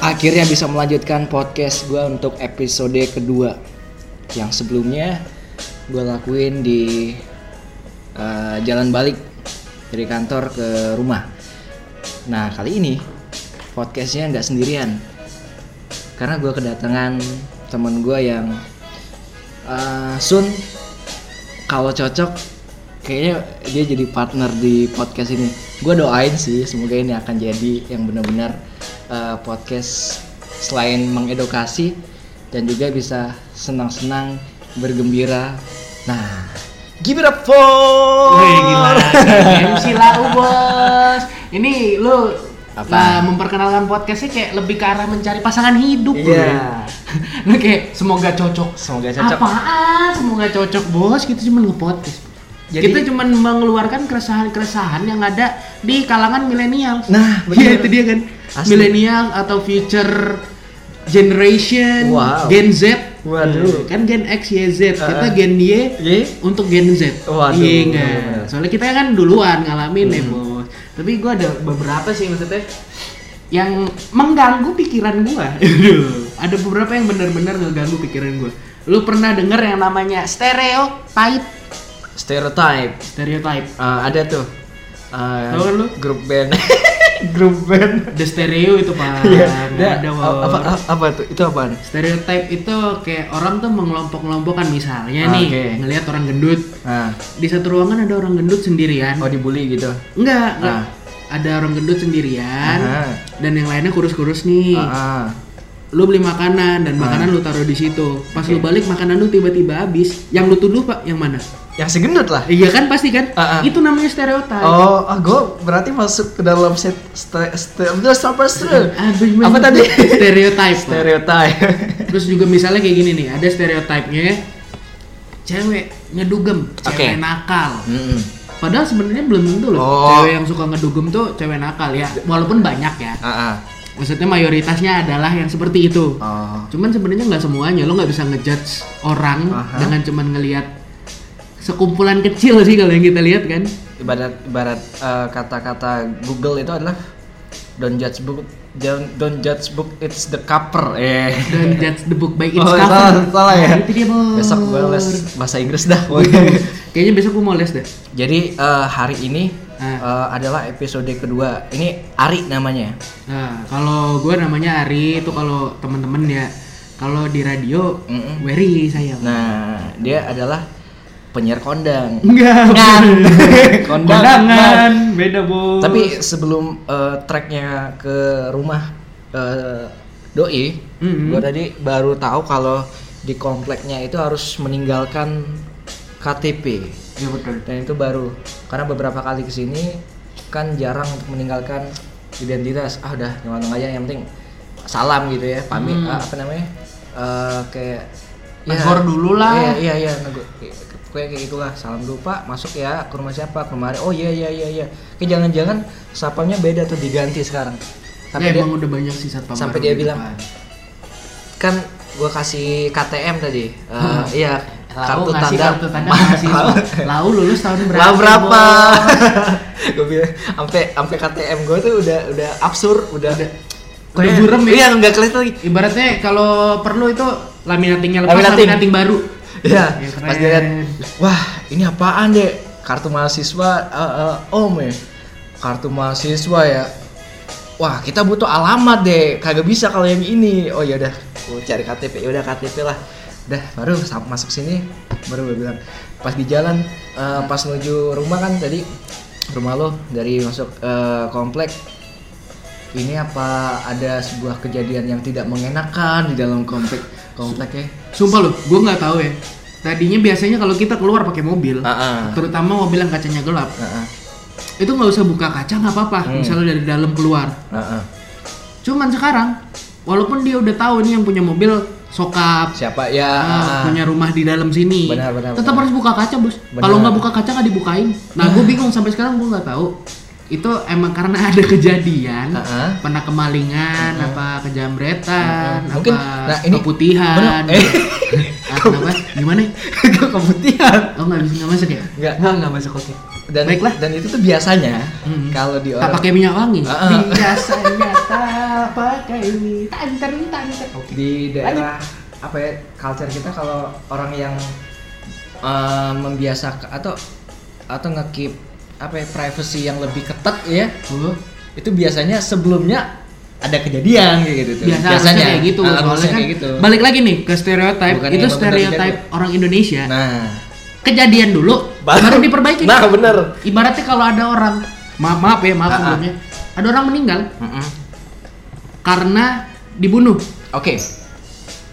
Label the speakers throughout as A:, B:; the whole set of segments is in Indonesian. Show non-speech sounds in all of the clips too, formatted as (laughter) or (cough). A: akhirnya bisa melanjutkan podcast gue untuk episode kedua yang sebelumnya gue lakuin di eh, jalan balik dari kantor ke rumah. Nah kali ini podcastnya nggak sendirian karena gue kedatangan temen gue yang eh, Sun kalau cocok kayaknya dia jadi partner di podcast ini. Gue doain sih semoga ini akan jadi yang benar-benar eh, podcast selain mengedukasi dan juga bisa senang-senang bergembira. Nah, give it up for.
B: Wih (laughs) gila, MC lau bos. Ini lu
A: Apa?
B: lah, memperkenalkan podcastnya kayak lebih ke arah mencari pasangan hidup bro.
A: Iya.
B: Lu kayak semoga cocok.
A: Semoga cocok.
B: Apaan? Semoga cocok bos. Kita cuma nge-podcast.
A: Jadi-
B: kita cuma mengeluarkan keresahan-keresahan yang ada di kalangan milenial.
A: Nah,
B: Iya
A: bener.
B: itu dia kan.
A: Asli.
B: Milenial atau future generation,
A: Wow.
B: Gen Z.
A: Waduh.
B: Kan Gen X, Y, Z. Kita
A: Uh-uh.
B: Gen Y,
A: Ye?
B: untuk Gen Z.
A: Waduh,
B: Iya nggak?
A: bener-bener.
B: Soalnya kita kan duluan ngalamin ya, Bos. Tapi gua ada beberapa sih maksudnya yang mengganggu pikiran (laughs) gua. ada beberapa yang benar-benar ngeganggu pikiran gua. Lu pernah denger yang namanya stereotype?
A: Stereotype.
B: Stereotype.
A: Eh, ada tuh. Eh,
B: Tahu kan lu?
A: Grup band. (laughs) grup band.
B: The stereo itu (laughs) Pak.
A: Iya.
B: Nggak
A: Ada
B: ada
A: apa,
B: Bos.
A: apa, apa tuh? Itu apaan?
B: Stereotype itu kayak orang tuh mengelompok-kelompokkan misalnya
A: Ah,
B: nih,
A: oke.
B: ngelihat orang gendut.
A: Nah,
B: Di satu ruangan ada orang gendut sendirian.
A: oh dibully gitu.
B: Enggak, enggak.
A: Ah.
B: Ada orang gendut sendirian
A: Aha.
B: dan yang lainnya kurus-kurus nih.
A: Ah, ah.
B: Lu beli makanan dan makanan lu taruh di situ. Pas lu balik makanan lu tiba-tiba habis. Yang lu tuduh, Pak, yang mana?
A: Yang segendut Ya, lah.
B: Iya kan pasti kan?
A: Ah, ah.
B: Itu namanya stereotype.
A: Oh, ah, gue berarti masuk ke dalam set ste, ste, udah, stopper, stre-
B: Ah, gimana?
A: apa tadi?
B: (laughs) Stereotype. Pak.
A: Stereotype. (laughs)
B: Terus juga misalnya kayak gini nih, ada stereotipnya cewek ngedugem, cewek
A: Oke.
B: nakal.
A: Mm-mm.
B: Padahal sebenarnya belum tentu loh.
A: Oh.
B: Cewek yang suka ngedugem tuh cewek nakal ya. Walaupun banyak ya.
A: Ah, ah.
B: Maksudnya mayoritasnya adalah yang seperti itu.
A: Oh.
B: cuman sebenarnya nggak semuanya lo nggak bisa ngejudge orang
A: Aha.
B: dengan cuman ngelihat sekumpulan kecil sih kalau yang kita lihat kan
A: ibarat ibarat eh, kata-kata Google itu adalah don't judge book don't, don't judge book it's the cover eh (laughs)
B: dan judge the book by its
A: Oh,
B: cover
A: salah- salah ya?
B: Nah, itu dia bos Gitu.
A: besok gue les bahasa Inggris dah
B: (laughs) kayaknya besok gue mau les deh
A: jadi eh, hari ini
B: Ah.
A: eh, adalah episode kedua ini Ari namanya
B: nah kalau gue namanya Ari itu kalau temen-temen ya kalau di radio
A: Mm-mm.
B: Wery saya
A: nah dia adalah penyiar kondang (laughs)
B: enggak
A: Ngan. Kondangan.
B: kondangan beda bos
A: tapi sebelum eh, tracknya ke rumah eh, doi
B: Mm-mm.
A: gue tadi baru tahu kalau di kompleknya itu harus meninggalkan KTP
B: ya betul
A: dan itu baru karena beberapa kali kesini kan jarang untuk meninggalkan identitas ah udah nyaman aja yang penting salam gitu ya pamit
B: Hmm.
A: ah, apa namanya Eh, kayak ya.
B: Negor dulu lah.
A: iya iya iya negor kayak kayak gitulah salam dulu pak masuk ya ke rumah siapa ke rumah Ari. oh iya iya iya iya kayak jangan-jangan sapamnya beda tuh diganti sekarang
B: ya,
A: sampai dia
B: emang udah banyak sih satpam
A: sampai
B: baru
A: dia
B: di
A: bilang,
B: depan.
A: kan gua kasih KTM tadi Eh,
B: Hmm.
A: iya
B: Lau
A: kartu
B: ngasih
A: tanda
B: kartu tanda
A: (laughs)
B: mahasiswa. Lau lulus tahun berapa?
A: Lah berapa?
B: Bos?
A: (laughs) gue bilang sampai sampai KTM gue tuh udah udah absurd, udah
B: Udah-
A: Kayak-
B: udah burem ya?
A: Iya, enggak kelihatan lagi.
B: Ibaratnya kalau perlu itu laminatingnya lepas,
A: Laminating.
B: laminating, baru.
A: Iya,
B: Ya, keren.
A: pas dilihat, wah, ini apaan deh? Kartu mahasiswa eh, eh, Om ya. Kartu mahasiswa ya. Wah, kita butuh alamat deh. Kagak bisa kalau yang ini. Oh ya udah, gua cari KTP. Ya udah KTP lah. Udah, baru sam- masuk sini baru gue bilang pas di jalan eh, pas menuju rumah kan tadi rumah lo dari masuk eh, komplek ini apa ada sebuah kejadian yang tidak mengenakan di dalam komplek komplek ya
B: Sumpah loh, gue nggak tahu ya. Tadinya biasanya kalau kita keluar pakai mobil,
A: Ah, ah.
B: terutama mobil yang kacanya gelap,
A: Heeh.
B: itu nggak usah buka kaca nggak apa-apa.
A: Hmm.
B: Misalnya dari dalam keluar.
A: Heeh.
B: Cuman sekarang, walaupun dia udah tahu nih yang punya mobil sokap,
A: Siapa ya?
B: ah,
A: heeh. (laughs)
B: punya rumah di dalam sini.
A: Benar, benar,
B: Tetap
A: benar.
B: harus buka kaca, Bos.
A: Benar. Ah.
B: Kalau nggak buka kaca nggak dibukain. Nah, gue bingung sampai sekarang gue nggak tahu. Itu emang karena ada kejadian,
A: Heeh.
B: pernah kemalingan, apa
A: Heeh.
B: kejamretan,
A: Ah. Mungkin-
B: apa
A: nah, ini-
B: keputihan.
A: Benar. Eh.
B: (laughs) Ah, kenapa? Gimana?
A: Gua keputihan.
B: Oh, nggak bisa nggak masuk ya?
A: Enggak.
B: Nggak, nggak masuk oke.
A: dan
B: Baiklah.
A: dan itu tuh biasanya
B: Mhm.
A: kalau di
B: Tak
A: orang
B: pakai minyak wangi.
A: Ah.
B: Biasanya tak pakai minyak. Tanter, tanter. Oke.
A: di daerah apa ya culture kita kalau orang yang eh, membiasakan atau atau ngekip apa ya privacy yang lebih ketat ya
B: Oh,
A: itu biasanya sebelumnya ada kejadian kayak gitu tuh.
B: biasa biasanya kayak gitu.
A: ah, harusnya
B: Soalnya kan,
A: kayak gitu
B: balik lagi nih ke stereotype.
A: Bukan
B: itu
A: yang benar-benar
B: stereotype
A: gitu.
B: orang Indonesia.
A: nah
B: Kejadian dulu, baru, diperbaiki.
A: nah bener
B: Ibaratnya kalau ada orang, maaf, maaf ya, maaf
A: Ah, ah.
B: sebelumnya, ada orang meninggal
A: Mm-mm.
B: karena dibunuh.
A: oke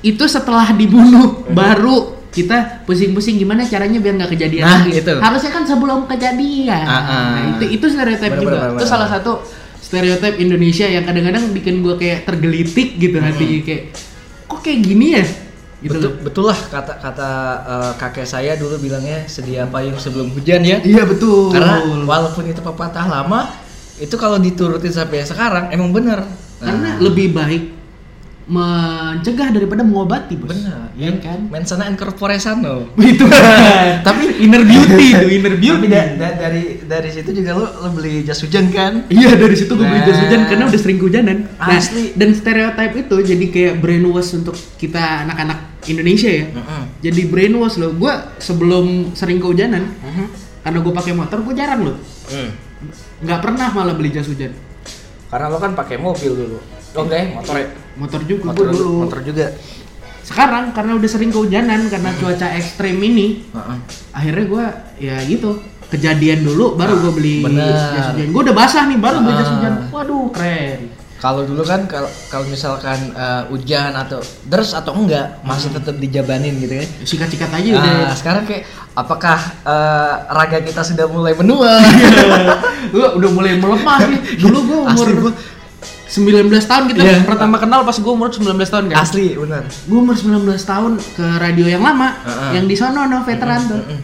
B: Itu setelah dibunuh baru kita pusing-pusing gimana caranya biar nggak kejadian
A: Nah,
B: lagi.
A: itu.
B: Harusnya kan sebelum kejadian.
A: Ah, ah.
B: Nah, itu itu stereotip
A: Bener,
B: juga.
A: bener, bener,
B: itu
A: bener.
B: salah satu stereotip Indonesia yang kadang-kadang bikin gua kayak tergelitik gitu hatinya kayak kok kayak gini ya? Gitu.
A: betul
B: loh.
A: betul lah kata kata eh, kakek saya dulu bilangnya sedia payung sebelum hujan ya
B: Iya betul.
A: karena walaupun itu pepatah lama itu kalau diturutin sampai sekarang emang bener Nah,
B: Karena lebih baik mencegah daripada mengobati, Bos.
A: Benar.
B: Iya kan?
A: mensana and corpore sano.
B: (laughs) itu (laughs) tapi inner beauty itu inner beauty
A: Tapi da- da- dari dari situ juga lu, lu beli jas hujan kan?
B: iya dari situ gue beli jas
A: Nah.
B: hujan karena udah sering hujanan nah,
A: Asli.
B: dan stereotype itu jadi kayak brainwash untuk kita anak-anak Indonesia ya jadi brainwash loh gue sebelum sering kehujanan
A: Mm-hmm.
B: karena gue pakai motor gue jarang loh
A: Hmm.
B: nggak pernah malah beli jas hujan
A: Karena lo kan pakai mobil dulu. Oh enggak ya, motor ya?
B: motor juga
A: Motor
B: gua
A: dulu,
B: dulu
A: motor juga.
B: sekarang karena udah sering kehujanan karena Hmm. cuaca ekstrim ini
A: Heeh.
B: akhirnya gue ya gitu kejadian dulu baru gue beli
A: Bener.
B: jas hujan gue udah basah nih baru beli jas
A: Ah.
B: hujan waduh keren
A: Kalau dulu kan kalau kalau misalkan eh, hujan atau deres atau enggak masih tetap dijabanin gitu kan.
B: Ya, sikat-sikat aja udah
A: Nah, sekarang kayak apakah eh, raga kita sudah mulai menua?
B: (laughs) (laughs) Gua udah mulai melemah nih dulu gue umur
A: Asli gua-
B: 19 tahun kita
A: Iya.
B: pertama kenal pas gue umur 19 tahun kan
A: Asli, benar.
B: gue umur 19 tahun ke radio yang lama
A: Heeh.
B: yang di sono no veteran tuh
A: Ah, Mm-mm.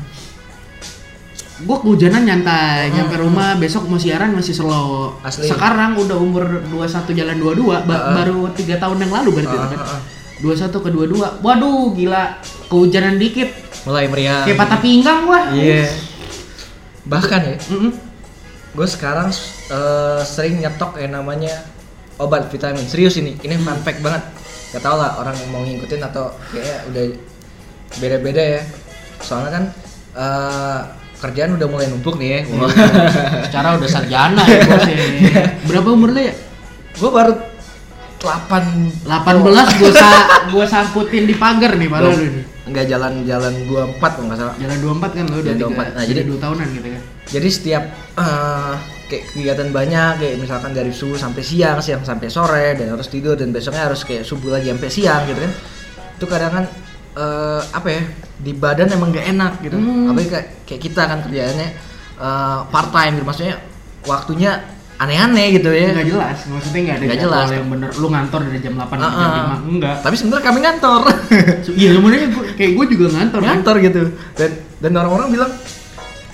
B: gue kehujanan nyantai nyampe rumah besok mau siaran masih slow
A: Hmm. Asli.
B: sekarang udah umur 21 jalan 22 ba- baru tiga tahun yang lalu berarti itu kan
A: Heeh, heeh.
B: 21 ke 22 waduh gila kehujanan dikit
A: Mulai meriah.
B: kayak patah pinggang gua
A: Iya. Bahkan ya, (laughs)
B: Mm-mm.
A: gue sekarang eh, sering nyetok yang namanya obat vitamin. Serius ini, ini fun fact banget. Gak tau lah orang mau ngikutin atau kayaknya udah beda-beda ya. Soalnya kan eh, kerjaan udah mulai numpuk nih ya.
B: Iya. secara udah sarjana ya bos ya. berapa umur lu ya
A: gue baru 8
B: 18 gua sa- gua sangkutin di pagar nih padahal lu nih
A: Enggak jalan-jalan gua 4 kalau nggak salah.
B: jalan 24 kan lu udah
A: Jalan
B: 24
A: 24. Nah, jadi-
B: 2 tahunan gitu kan
A: Jadi setiap eh, kayak kegiatan banyak kayak misalkan dari subuh sampai siang, siang sampai sore dan harus tidur dan besoknya harus kayak subuh lagi sampai siang gitu kan. Itu kadang kan eh, apa ya? Di badan emang gak enak gitu.
B: Hmm.
A: Apalagi kayak, kayak kita kan kerjaannya eh, part time gitu maksudnya waktunya aneh-aneh gitu ya.
B: nggak jelas maksudnya nggak ada
A: Nggak
B: jadwal
A: jelas.
B: yang bener lu ngantor dari jam 8 sampai
A: Ah,
B: jam
A: ah.
B: 5 enggak
A: Tapi sebenarnya kami ngantor. (laughs)
B: So, iya sebenarnya gua- kayak gua juga ngantor kan
A: ngantor gitu. Dan dan orang-orang bilang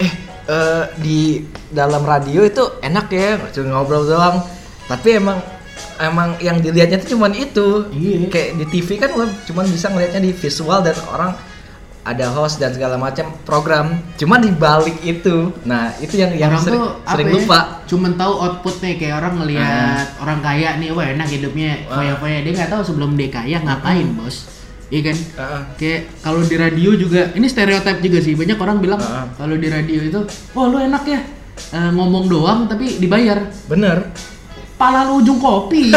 A: eh eh, di dalam radio itu enak ya, cuma ngobrol doang. Tapi emang emang yang dilihatnya itu cuman itu.
B: Iya.
A: Kayak di TV kan lo cuman bisa ngelihatnya di visual dan orang ada host dan segala macam program. Cuman di balik itu. Nah, itu yang yang
B: orang
A: sering,
B: tuh
A: sering
B: apa ya,
A: lupa. Ah.
B: cuman tahu outputnya kayak orang ngelihat orang kaya nih wah enak hidupnya
A: Wah. Ah.
B: foya-foya dia nggak tahu sebelum dia kaya ngapain bos iya kan
A: Heeh.
B: kayak kalau di radio juga ini stereotip juga sih banyak orang bilang
A: Heeh.
B: kalau di radio itu wah lu enak ya eh, ngomong doang tapi dibayar
A: bener.
B: pala lu ujung
A: (laughs)
B: kopi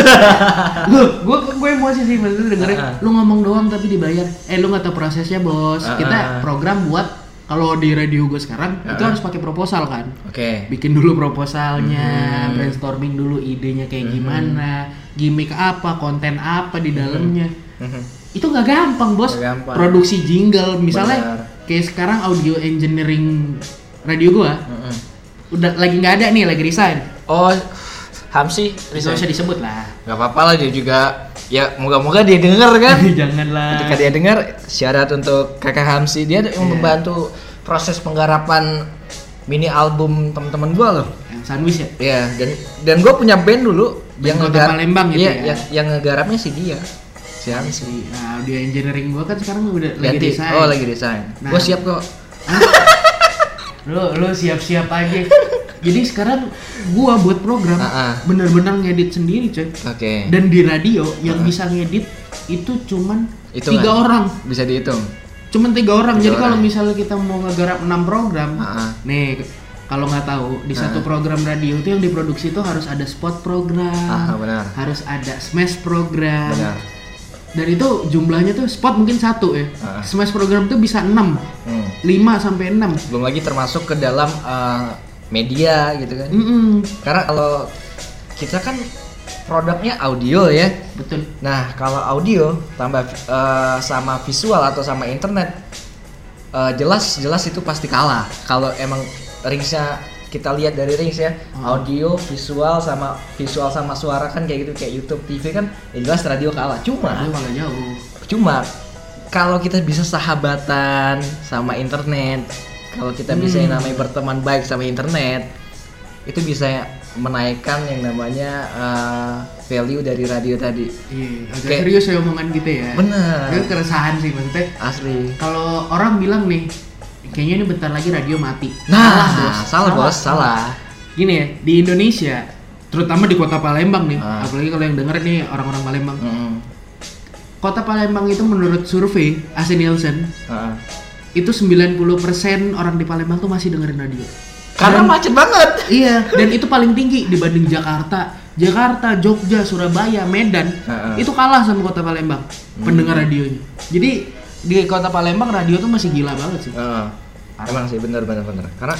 B: lu gue gue emosi sih maksudnya dengerin
A: Heeh.
B: lu ngomong doang tapi dibayar eh lu nggak tahu prosesnya bos
A: Ah,
B: kita
A: Heeh.
B: program buat kalau di radio gue sekarang itu
A: Heeh.
B: harus pakai proposal kan
A: Oke.
B: bikin dulu proposalnya,
A: Hmm.
B: brainstorming dulu idenya kayak gimana, gimmick apa, konten apa di dalamnya.
A: Mhm.
B: Itu nggak gampang bos.
A: Hmm. Nggak gampang.
B: Produksi jingle misalnya,
A: Benar.
B: kayak sekarang audio engineering radio gua
A: Mhm.
B: udah lagi nggak ada nih, lagi resign.
A: Oh, Hamsi,
B: Nggak usah disebut lah.
A: Gak apa-apa lah dia juga ya moga-moga dia denger kan. Ketika
B: (laughs) Janganlah.
A: dia dengar syarat untuk kakak Hamsi dia
B: Iya.
A: yang membantu proses penggarapan mini album teman-teman gua loh.
B: Yang Sandwich ya.
A: Iya dan dan gua punya band dulu yang
B: Kota
A: ngegarap
B: Palembang gitu
A: iya,
B: ya.
A: yang yang ngegarapnya si dia. Si Hamsi. Oh,
B: Nah, audio engineering gua kan sekarang udah lagi
A: Ganti.
B: resign.
A: Oh, lagi desain.
B: Nah.
A: Gua siap kok.
B: lu lu siap-siap
A: (laughs)
B: aja jadi sekarang gua buat program
A: Ah, ah.
B: bener-bener ngedit sendiri coy
A: Oke. Ah,
B: dan di radio yang bisa ngedit itu cuman
A: Hitungan.
B: tiga orang
A: Bisa dihitung.
B: cuman tiga orang
A: Tiga
B: jadi kalau
A: orang.
B: misalnya kita mau ngegarap enam program
A: Ah, ah.
B: nih kalau nggak tahu di satu program radio itu yang diproduksi itu harus ada spot program
A: Ah, benar.
B: harus ada smash program
A: Benar.
B: dan itu jumlahnya tuh spot mungkin satu ya
A: Ah.
B: smash program tuh bisa enam
A: Hmm.
B: lima sampai enam
A: Belum lagi termasuk ke dalam eh, media gitu kan.
B: Mm-mm.
A: Karena kalau kita kan produknya audio ya.
B: betul
A: Nah, kalau audio tambah eh, sama visual atau sama internet eh, jelas jelas itu pasti kalah. Kalau emang ringsnya kita lihat dari rings ya,
B: Oh.
A: audio, visual sama visual sama suara kan kayak gitu kayak YouTube, TV kan ya jelas radio kalah. Cuma
B: Lu malah jauh
A: cuma kalau kita bisa sahabatan sama internet, kalau kita bisa yang namanya berteman baik sama internet, itu bisa menaikkan yang namanya eh, value dari radio tadi.
B: iya agak
A: Kayak-
B: serius ya omongan kita ya itu
A: Bener,
B: keresahan sih maksudnya
A: asli.
B: kalau orang bilang nih kayaknya ini bentar lagi radio mati
A: Nah, salah, bos, salah.
B: gini ya di Indonesia terutama di kota Palembang nih
A: Ah.
B: apalagi kalau yang denger nih orang-orang Palembang
A: Mm-mm.
B: kota Palembang itu menurut survei AC Nielsen
A: Heeh.
B: itu 90% orang di Palembang tuh masih dengerin radio
A: Karena macet banget.
B: iya dan itu paling tinggi dibanding Jakarta Jakarta Jogja Surabaya Medan
A: Ah, ah.
B: itu kalah sama kota Palembang pendengar radionya jadi di kota Palembang radio tuh masih gila banget sih
A: Heeh. Emang sih bener bener bener. Karena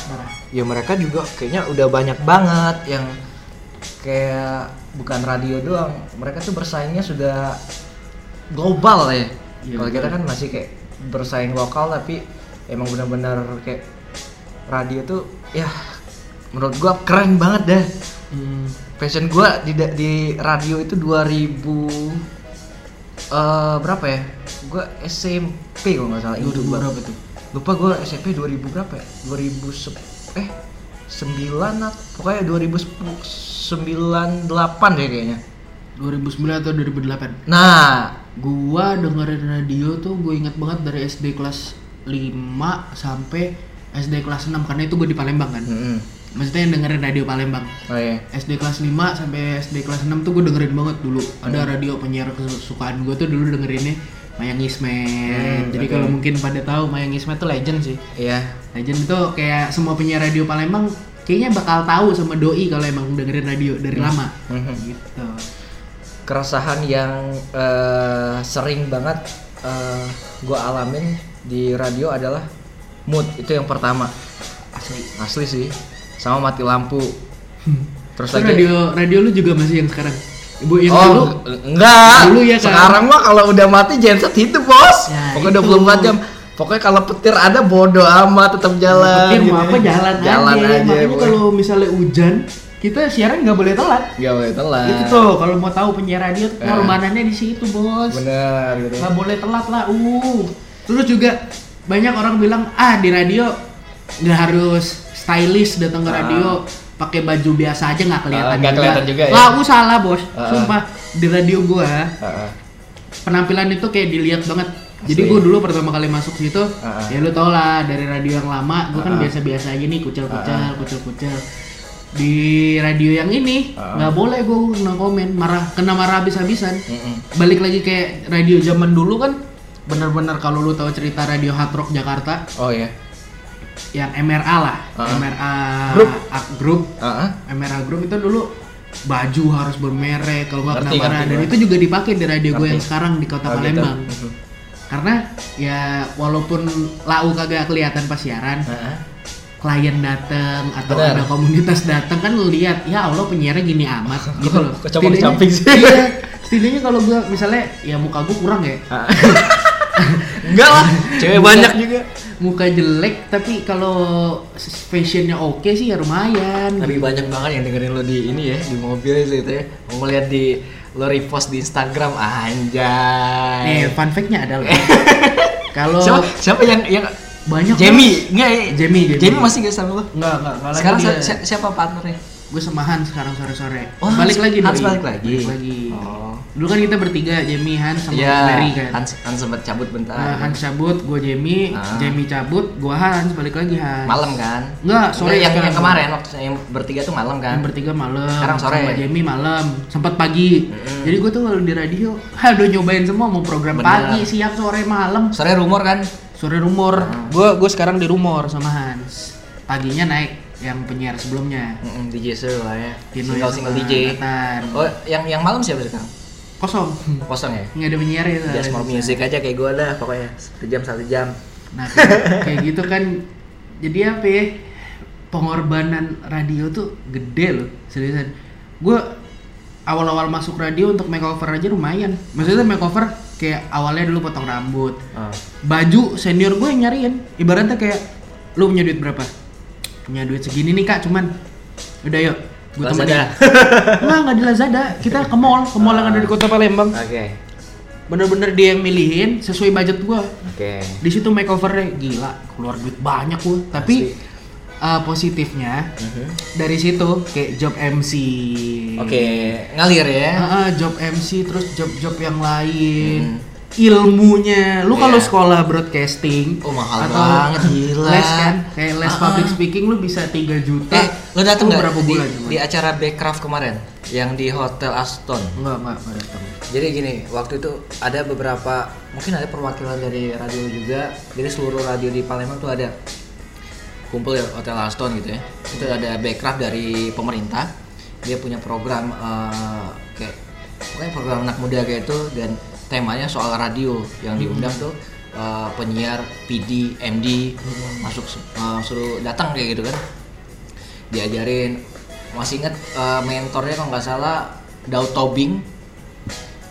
A: ya mereka juga kayaknya udah banyak banget yang kayak bukan radio doang. Mereka tuh bersaingnya sudah global ya.
B: Iya,
A: Kalau kita kan masih kayak bersaing lokal tapi emang benar-benar kayak radio tuh ya menurut gua keren banget dah.
B: Hmm.
A: Passion gua di di radio itu 2000 eh berapa ya? Gua SMP kalau nggak salah itu
B: Dua berapa tuh?
A: Lupa gua SMP 2000 berapa ya? 2010 eh 9 at- pokoknya 2098 deh kayaknya.
B: 2009 atau 2008?
A: Nah,
B: Gua dengerin radio tuh gue inget banget dari SD kelas 5 sampai SD kelas 6 karena itu gue di Palembang kan.
A: mm-mm.
B: Maksudnya yang dengerin radio Palembang.
A: Oh iya.
B: SD kelas 5 sampai SD kelas 6 tuh gue dengerin banget dulu.
A: Hmm.
B: Ada radio penyiar kesukaan gue tuh dulu dengerinnya Mayang Ismet.
A: Hmm,
B: Jadi
A: oke.
B: kalau mungkin pada tahu Mayang Ismet tuh legend sih.
A: Iya.
B: Legend itu kayak semua penyiar radio Palembang kayaknya bakal tahu sama doi kalau emang dengerin radio dari lama.
A: Mhm.
B: Gitu.
A: Keresahan yang eh, sering banget eh, gua alamin di radio adalah mood itu yang pertama.
B: Asli. Hmm.
A: Asli sih. Sama mati lampu. Terus
B: Terus
A: lagi
B: radio radio lu juga masih yang sekarang. Ibu yang
A: oh,
B: dulu
A: eng- enggak.
B: Dulu ya kan?
A: Sekarang mah kalau udah mati genset hidup, Bos.
B: Ya,
A: Pokoknya
B: itu.
A: 24 jam. Pokoknya kalau petir ada bodo amat tetap jalan.
B: petir mau
A: gitu.
B: apa jalan,
A: jalan aja.
B: Makanya
A: pokoknya.
B: kalau misalnya hujan, kita siaran nggak boleh telat.
A: Nggak boleh telat.
B: Itu tuh kalau mau tahu penyiar radio tuh
A: Eh.
B: pengorbanannya di situ, Bos.
A: Bener gitu.
B: Nggak boleh telat lah. Uh. Terus juga banyak orang bilang, "Ah, di radio nggak harus stylish datang ke
A: Ah.
B: radio." pakai baju biasa aja nggak kelihatan
A: Ah, nggak kelihatan juga ya.
B: Lah, aku salah bos.
A: Ah.
B: Sumpah di radio gua
A: Heeh.
B: penampilan itu kayak dilihat banget.
A: Asli.
B: Jadi
A: Ah.
B: gue dulu pertama kali masuk situ,
A: Heeh.
B: ya lu tau lah dari radio yang lama, gue kan
A: Heeh.
B: biasa-biasa aja nih kucel-kucel,
A: Heeh.
B: kucel-kucel. Di radio yang ini
A: Heeh.
B: nggak boleh gue kena komen, marah, kena marah habis-habisan.
A: Mm-mm.
B: Balik lagi kayak radio zaman dulu kan, bener-bener kalau lu tahu cerita radio Hard Rock Jakarta
A: Oh ya.
B: yang MRA lah,
A: Heeh.
B: MRA
A: Group.
B: ah, Group
A: Heeh.
B: MRA Group itu dulu baju harus bermerek kalau nggak
A: Ngerti,
B: kena
A: ngerti
B: dan
A: gua.
B: itu juga dipakai di radio gue
A: Ngerti.
B: yang sekarang di kota
A: Oh, gitu.
B: Palembang
A: Mhm.
B: karena ya walaupun lau kagak kelihatan pas siaran
A: Heeh.
B: klien dateng atau
A: Benar.
B: ada komunitas dateng kan lu lihat ya Allah penyiarnya gini
A: (laughs)
B: amat gitu loh
A: Kok cabang
B: Setidaknya-
A: camping sih?
B: iya, setidaknya kalau gua misalnya ya muka gua kurang ya
A: Ah. (laughs) Enggak lah, cewek
B: Bukan.
A: banyak juga.
B: muka jelek tapi kalau fashionnya oke sih ya lumayan
A: Tapi banyak banget yang dengerin lo di ini ya, di mobil itu ya. Mau lihat di lo repost di Instagram anjay.
B: eh fun fact-nya adalah
A: (laughs)
B: kalau
A: Siapa, siapa yang yang
B: banyak
A: Jamie? Enggak, ya?
B: Jamie, Jamie.
A: Jamie masih gak sama lo?
B: Enggak, enggak. Kalau
A: Sekarang
B: dia,
A: si- si- siapa partnernya?
B: gue semahan sekarang sore-sore.
A: Oh,
B: balik
A: harus-
B: lagi
A: harus
B: doi.
A: balik lagi.
B: Balik lagi.
A: Oh.
B: Dulu kan kita bertiga, Jamie, Han sama Mary kan.
A: Iya, Hans, Hans sempat cabut bentar.
B: Ah, Han cabut, gue Jamie,
A: Ah.
B: Jamie cabut, gue Hans balik lagi Hans.
A: malam kan?
B: Enggak, sore
A: yang,
B: sekarang.
A: yang kemarin waktu saya- yang bertiga tuh malam
B: Yang
A: kan?
B: bertiga malam.
A: Sekarang sore.
B: Sama Jamie malam, sempat pagi.
A: Mm-mm.
B: Jadi gue tuh kalau di radio, (laughs) ha, udah nyobain semua mau program
A: Bener.
B: pagi, siang, sore, malam.
A: Sore rumor kan?
B: Sore rumor.
A: Ah.
B: Gue gue sekarang di rumor sama Hans. Paginya naik yang penyiar sebelumnya.
A: Mm-mm, DJ seru lah ya.
B: Pinoy
A: Single
B: sama
A: single DJ.
B: Nathan.
A: Oh, yang yang malam siapa sekarang?
B: Kosong.
A: Kosong ya?
B: Nggak ada penyiar ya.
A: Just more
B: soalnya.
A: music aja kayak gue dah pokoknya satu jam satu jam.
B: Nah, kayak, kayak gitu kan. Jadi apa ya? Pengorbanan radio tuh gede loh, seriusan. Gue awal-awal masuk radio untuk makeover aja lumayan. Maksudnya makeover kayak awalnya dulu potong rambut.
A: Ah.
B: Baju senior gue yang nyariin. Ibaratnya kayak lu punya duit berapa? Punya duit segini nih, Kak, cuman udah yuk gue
A: Lazada.
B: temenin nggak nggak di Lazada kita ke mall ke mall yang ada di kota Palembang
A: Oke
B: bener-bener dia yang milihin sesuai budget gua
A: oke.
B: di situ makeovernya gila keluar duit banyak gua tapi uh, positifnya
A: Mhm.
B: dari situ kayak job MC
A: Oke ngalir ya.
B: Ah, ah, job MC terus job-job yang lain
A: Hmm.
B: ilmunya lu kalau
A: Iya.
B: sekolah broadcasting
A: Oh, mahal banget, gila.
B: les kan kayak les
A: Ah, ah.
B: public speaking lu bisa 3 juta
A: Eh lo dateng
B: Lu
A: nggak
B: Ah, berapa
A: di,
B: bulan cuman?
A: di acara Backcraft kemarin yang di Hotel Aston?
B: enggak enggak enggak datang
A: Jadi gini, waktu itu ada beberapa, mungkin ada perwakilan dari radio juga, jadi seluruh radio di Palembang tuh ada kumpul ya Hotel Aston gitu ya. Itu ada backcraft dari pemerintah, dia punya program eh, kayak pokoknya program anak muda kayak itu dan temanya soal radio yang diundang tuh eh, penyiar PD, MD masuk eh, suruh datang kayak gitu kan diajarin masih inget eh, mentornya kalau nggak salah Daud Tobing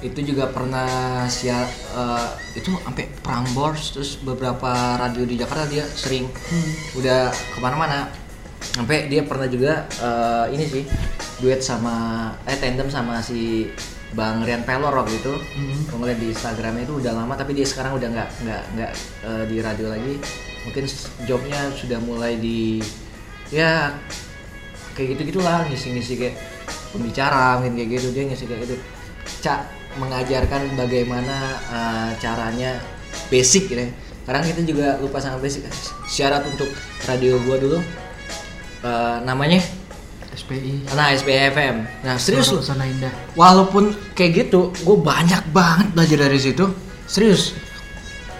A: itu juga pernah siar eh, itu sampai Prambors terus beberapa radio di Jakarta dia sering udah kemana-mana sampai dia pernah juga eh, ini sih duet sama eh tandem sama si Bang Rian Pelor waktu itu
B: Hmm.
A: Gua ngeliat di Instagramnya itu udah lama tapi dia sekarang udah nggak nggak nggak eh, di radio lagi mungkin s- jobnya sudah mulai di ya kayak gitu gitulah ngisi ngisi kayak pembicara mungkin kayak gitu dia ngisi kayak gitu cak mengajarkan bagaimana eh, caranya basic gitu ya. sekarang kita juga lupa sama basic syarat untuk radio gua dulu eh, namanya
B: SPI
A: nah SPFM nah serius lu
B: Zona Indah
A: walaupun kayak gitu gue banyak banget belajar dari situ serius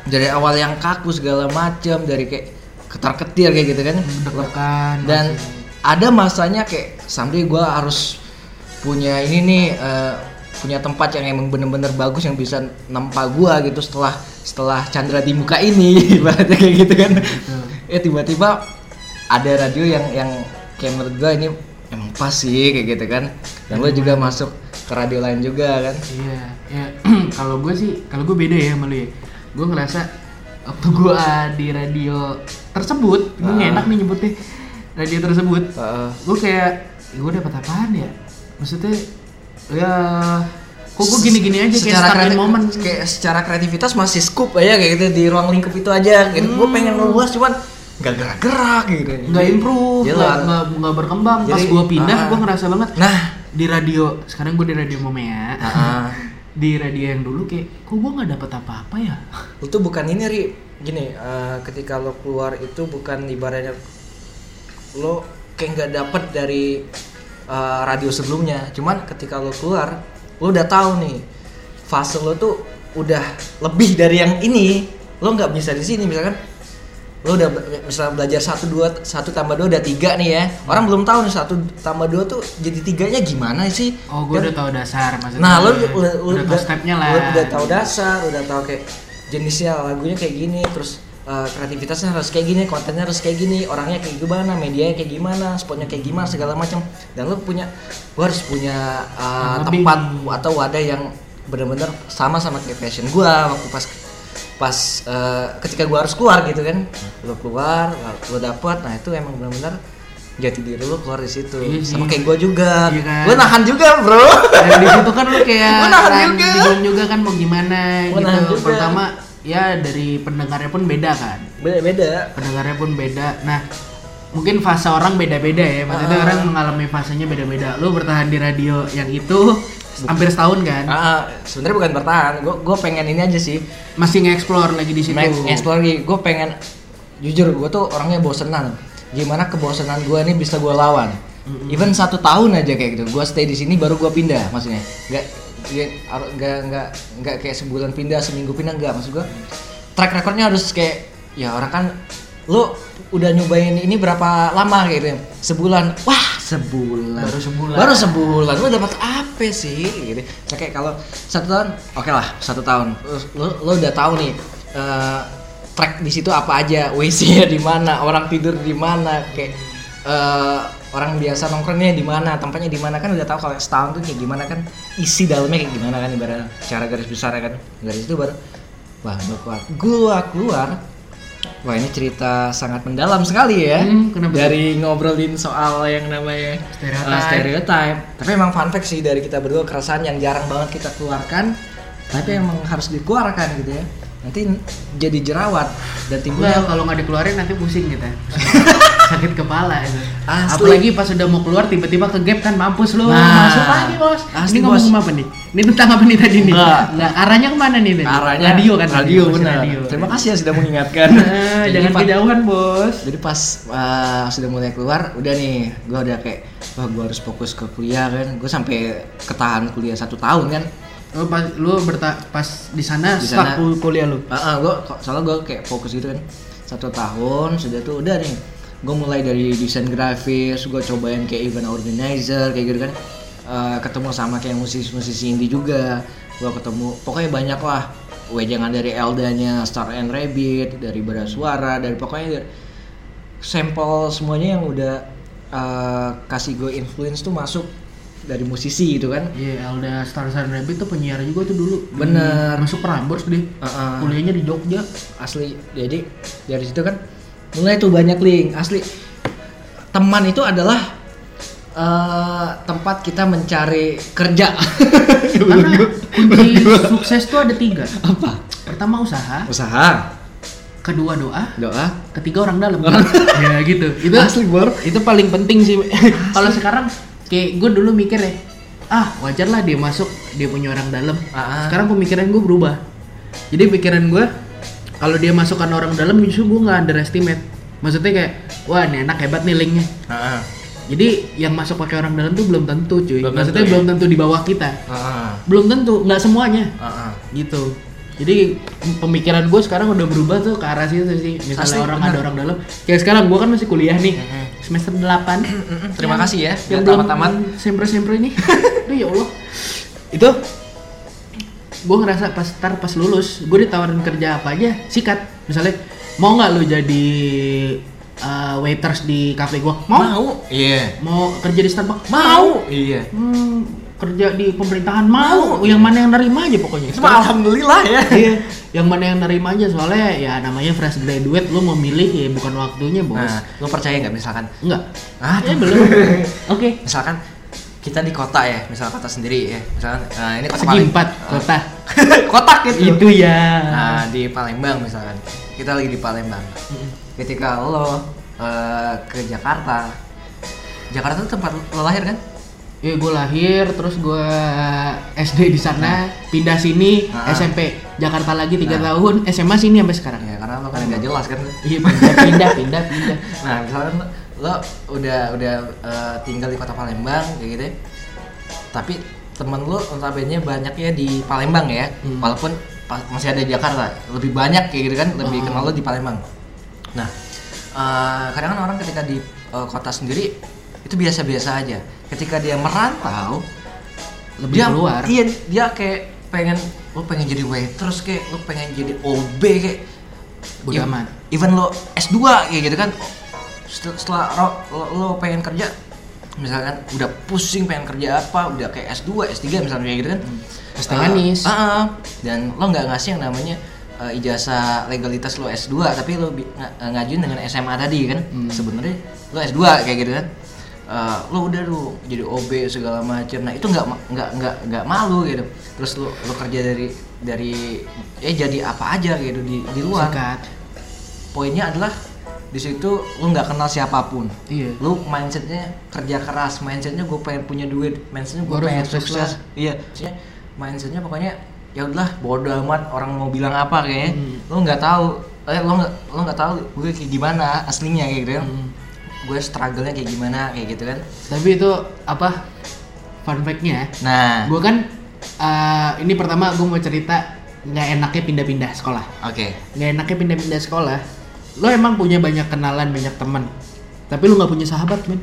A: dari awal yang kaku segala macam dari kayak ketar ketir kayak gitu kan
B: deg-degan
A: dan
B: masih.
A: ada masanya kayak someday gue harus punya ini nih eh, punya tempat yang emang bener-bener bagus yang bisa nempa gue gitu setelah setelah Chandra di muka ini (laughs) ibaratnya kayak gitu kan ya tiba-tiba ada radio yang yang kayak menurut gue ini emang pas sih kayak gitu kan dan gue juga masuk ke radio lain juga kan
B: Iya, ya. (clears throat) kalau gue sih, kalau gue beda ya sama lu ya. Gue ngerasa waktu gue di radio tersebut, gue nggak
A: Ah.
B: enak nih nyebutnya radio tersebut.
A: Heeh.
B: Gue kayak, gue dapat apaan ya? Maksudnya, ya, kok gue gini-gini aja kayak
A: secara
B: stuck in
A: kreatif-
B: moment.
A: kayak secara kreativitas masih scoop aja kayak gitu di ruang lingkup itu aja gitu gue pengen ngeluas cuman gak gerak-gerak gitu
B: nggak improve,
A: Jelas.
B: nggak nggak- nggak berkembang. Pas
A: Jadi,
B: gue pindah,
A: ah.
B: gue ngerasa banget
A: nah
B: di radio. Sekarang gue di radio Momea.
A: ah,
B: (laughs)
A: (laughs)
B: di radio yang dulu kayak, kok gue nggak dapat apa-apa ya?
A: itu bukan ini ri gini eh, ketika lo keluar itu bukan ibaratnya lo kayak nggak dapet dari eh, radio sebelumnya cuman ketika lo keluar lo udah tahu nih fase lo tuh udah lebih dari yang ini lo nggak bisa di sini misalkan lo udah be- misalnya belajar satu dua satu tambah dua udah tiga nih ya orang belum tahu nih satu tambah dua tuh jadi tiganya gimana sih
B: Oh, gue
A: Kan-
B: udah tahu dasar maksudnya.
A: Nah, lu
B: udah,
A: udah
B: udah tahu stepnya lah.
A: Udah, udah tahu dasar, udah tahu kayak jenisnya lagunya kayak gini, terus uh, kreativitasnya harus kayak gini, kontennya harus kayak gini, orangnya kayak gimana, medianya kayak gimana, spotnya kayak gimana, segala macam. Dan lu punya gua harus punya uh,
B: Yang lebih.
A: tempat atau wadah yang benar-benar sama sama kayak passion gua waktu pas pas uh, ketika gua harus keluar gitu kan. Lu keluar, lu dapet, nah itu emang benar-benar jati diri lu keluar di situ.
B: Iya sih.
A: sama kayak gua juga.
B: Iya kan.
A: Gua nahan juga, Bro. (laughs)
B: Dan di situ kan lu kayak
A: Gua nahan
B: kan,
A: juga.
B: bingung juga kan mau gimana
A: Gua nahan
B: gitu.
A: juga.
B: Pertama ya dari pendengarnya pun beda kan.
A: Beda-beda.
B: Pendengarnya pun beda. Nah, mungkin fase orang beda-beda ya. Maksudnya
A: Ah.
B: orang mengalami fasenya beda-beda. Lu bertahan di radio yang itu hampir setahun kan
A: Ah, sebenarnya bukan bertahan. Gue gue pengen ini aja sih.
B: masih nge-explore lagi di situ
A: Explore lagi. Gue pengen jujur gue tuh orangnya bosenan. Gimana kebosenan gue ini bisa gue lawan. Even satu tahun aja kayak gitu. Gue stay di sini baru gue pindah maksudnya. Gak nggak nggak nggak kayak sebulan pindah seminggu pindah nggak maksud gue track recordnya harus kayak ya orang kan lu udah nyobain ini berapa lama gitu sebulan wah sebulan
B: Baru sebulan.
A: baru sebulan lu dapat apa sih gitu Nah, kayak kalau satu tahun oke lah satu tahun lu, lu udah tahu nih eh, track di situ apa aja WC nya (laughs) di mana orang tidur di mana kayak eh, orang biasa nongkrongnya di mana tempatnya di mana kan udah tahu kalau setahun tuh kayak gimana kan isi dalamnya kayak gimana kan ibaratnya cara garis besar kan garis itu baru wah gua keluar gua keluar wah ini cerita sangat mendalam sekali ya
B: Hmm, kenapa sih?
A: dari ngobrolin soal yang namanya
B: Stereotype.
A: eh, stereotype. Tapi emang fun fact sih dari kita berdua keresahan yang jarang banget kita keluarkan, tapi emang harus dikeluarkan gitu ya. Nanti jadi jerawat dan
B: Gua
A: timbulnya
B: kalau nggak dikeluarin nanti pusing
A: (laughs)
B: kita sakit kepala itu.
A: Asli.
B: apalagi pas udah mau keluar tiba-tiba ke gap kan mampus lu
A: Nah.
B: masuk lagi bos
A: Asli,
B: ini ngomong
A: bos.
B: apa nih ini tentang apa nih tadi nih
A: Nggak.
B: Nggak, arahnya kemana nih tadi?
A: arahnya Nah,
B: radio kan
A: radio
B: Masih
A: benar.
B: radio.
A: Terima kasih yang
B: (laughs)
A: sudah mengingatkan.
B: Nah,
A: Jadi
B: jangan
A: Pak,
B: kejauhan bos
A: jadi pas uh, sudah mulai keluar udah nih gue udah kayak wah gue harus fokus ke kuliah kan gue sampai ketahan kuliah satu tahun kan
B: lu pas lu berta- pas di sana
A: Di
B: stuck
A: sana.
B: kul- kuliah lu
A: Ah, ah, gua soalnya gue kayak fokus gitu kan satu tahun sudah tuh udah nih gue mulai dari desain grafis gue cobain kayak event organizer kayak gitu kan Eh, ketemu sama kayak musisi-musisi indie juga gue ketemu pokoknya banyak lah wejangan dari Eldanya Star and Rabbit dari Bara Suara dari pokoknya dari- sampel semuanya yang udah eh, kasih gue influence tuh masuk dari musisi gitu kan
B: Iya, Elda Star Sun Rabbit tuh penyiar juga tuh dulu. Di-
A: Bener.
B: Masuk Prambors deh.
A: Heeh.
B: Kuliahnya di Jogja.
A: asli jadi dari situ kan mulai tuh banyak link asli teman itu adalah eh, tempat kita mencari kerja
B: Karena kunci sukses tuh ada tiga.
A: apa
B: Pertama (laughs) usaha,
A: usaha
B: kedua doa,
A: doa
B: ketiga orang dalam (laughs) ya gitu itu
A: asli bor
B: itu paling penting
A: (laughs)
B: sih kalau sekarang kayak gue dulu mikir ya ah wajar lah dia masuk dia punya orang dalam
A: Ah, ah.
B: sekarang pemikiran gue berubah jadi pikiran gue kalau dia masukkan orang dalam justru gue nggak underestimate maksudnya kayak wah ini anak hebat nih linknya
A: Ah,
B: jadi yang masuk pakai orang dalam tuh belum tentu cuy
A: Belum
B: maksudnya
A: tentu, ya.
B: belum tentu di bawah kita
A: Ah,
B: belum tentu nggak semuanya gitu jadi pemikiran gue sekarang udah berubah tuh ke arah situ sih misalnya
A: Asli,
B: orang
A: benar.
B: ada orang dalam kayak sekarang gue kan masih kuliah nih
A: Mhm.
B: semester 8
A: terima kasih ya
B: yang
A: yang
B: belum
A: tamat-tamat
B: sempro-sempro (laughs) ini aduh ya Allah itu gue ngerasa pas ntar pas lulus gue ditawarin kerja apa aja sikat misalnya mau nggak lu jadi uh, waiters di cafe gue mau
A: iya
B: mau kerja di Starbucks mau
A: mau iya
B: Hmm, kerja di pemerintahan mau yang mana yang nerima aja pokoknya
A: cuma alhamdulillah ya
B: iya yang mana yang nerima aja soalnya ya namanya fresh graduate lu mau milih ya bukan waktunya Iya, bos
A: nah lo percaya nggak misalkan
B: enggak
A: ah
B: eh belum oke
A: misalkan kita di kota ya misal kota sendiri ya misalkan nah, ini kota
B: segi
A: paling
B: empat kota
A: (laughs) kotak gitu
B: itu ya
A: Nah, di Palembang misalkan. Kita lagi di Palembang. Ketika lo eh, ke Jakarta. Jakarta tuh tempat lo lahir kan?
B: ya gue lahir terus gue SD di sana pindah sini
A: Nah.
B: SMP Jakarta lagi tiga
A: Nah.
B: tahun SMA sini sampai sekarang
A: Ya, karena lo kan nggak jelas kan.
B: iya pindah pindah pindah pindah
A: (laughs) Nah, misalkan lo- lo udah udah eh, tinggal di kota Palembang kayak gitu. ya. Tapi temen lo notabene banyaknya di Palembang ya.
B: Hmm.
A: Walaupun pa- masih ada di Jakarta, lebih banyak kayak gitu kan, lebih
B: Ah.
A: kenal lo di Palembang. Nah, eh, kadang kan orang ketika di eh, kota sendiri itu biasa-biasa aja. Ketika dia merantau,
B: lebih keluar
A: Iya, dia kayak pengen lo pengen jadi waiters kayak lo pengen jadi OB kayak
B: Bodo
A: Ev-
B: amat.
A: Even lo S2 kayak gitu kan. Setel- Setelah ro- lo, lo pengen kerja misalkan udah pusing pengen kerja apa, udah kayak S2, S3 misalnya kayak gitu kan.
B: Hmm. Setengahnis.
A: Eh, eh, eh. dan lo nggak ngasih yang namanya eh, ijazah legalitas lo S2 tapi lo bi- nga- eh, ngajuin dengan SMA tadi kan.
B: Hmm.
A: Sebenarnya lo S2 kayak gitu kan. Eh, lo udah lu jadi OB segala macam nah itu nggak ma- nggak nggak nggak malu gitu terus lo lo kerja dari dari ya jadi apa aja gitu di di luar
B: sikat
A: poinnya adalah di situ lu nggak kenal siapapun
B: Iya.
A: lu mindsetnya kerja keras mindsetnya gue pengen punya duit mindsetnya gue
B: Gua harus
A: pengen
B: sukses
A: sukses
B: lah.
A: iya maksudnya mindsetnya pokoknya ya udahlah bodo amat orang mau bilang apa kayaknya
B: Hmm.
A: lu nggak tahu eh lu nggak lu nggak tahu gue kayak gimana aslinya kayak gitu kan
B: Hmm.
A: gue struggle-nya kayak gimana kayak gitu kan
B: Tapi itu apa? Fun fact-nya,
A: nah
B: gue kan eh, ini pertama gue mau cerita nggak enaknya pindah-pindah sekolah.
A: oke
B: Nggak enaknya pindah-pindah sekolah. Lo emang punya banyak kenalan, banyak teman. Tapi lo nggak punya sahabat, men.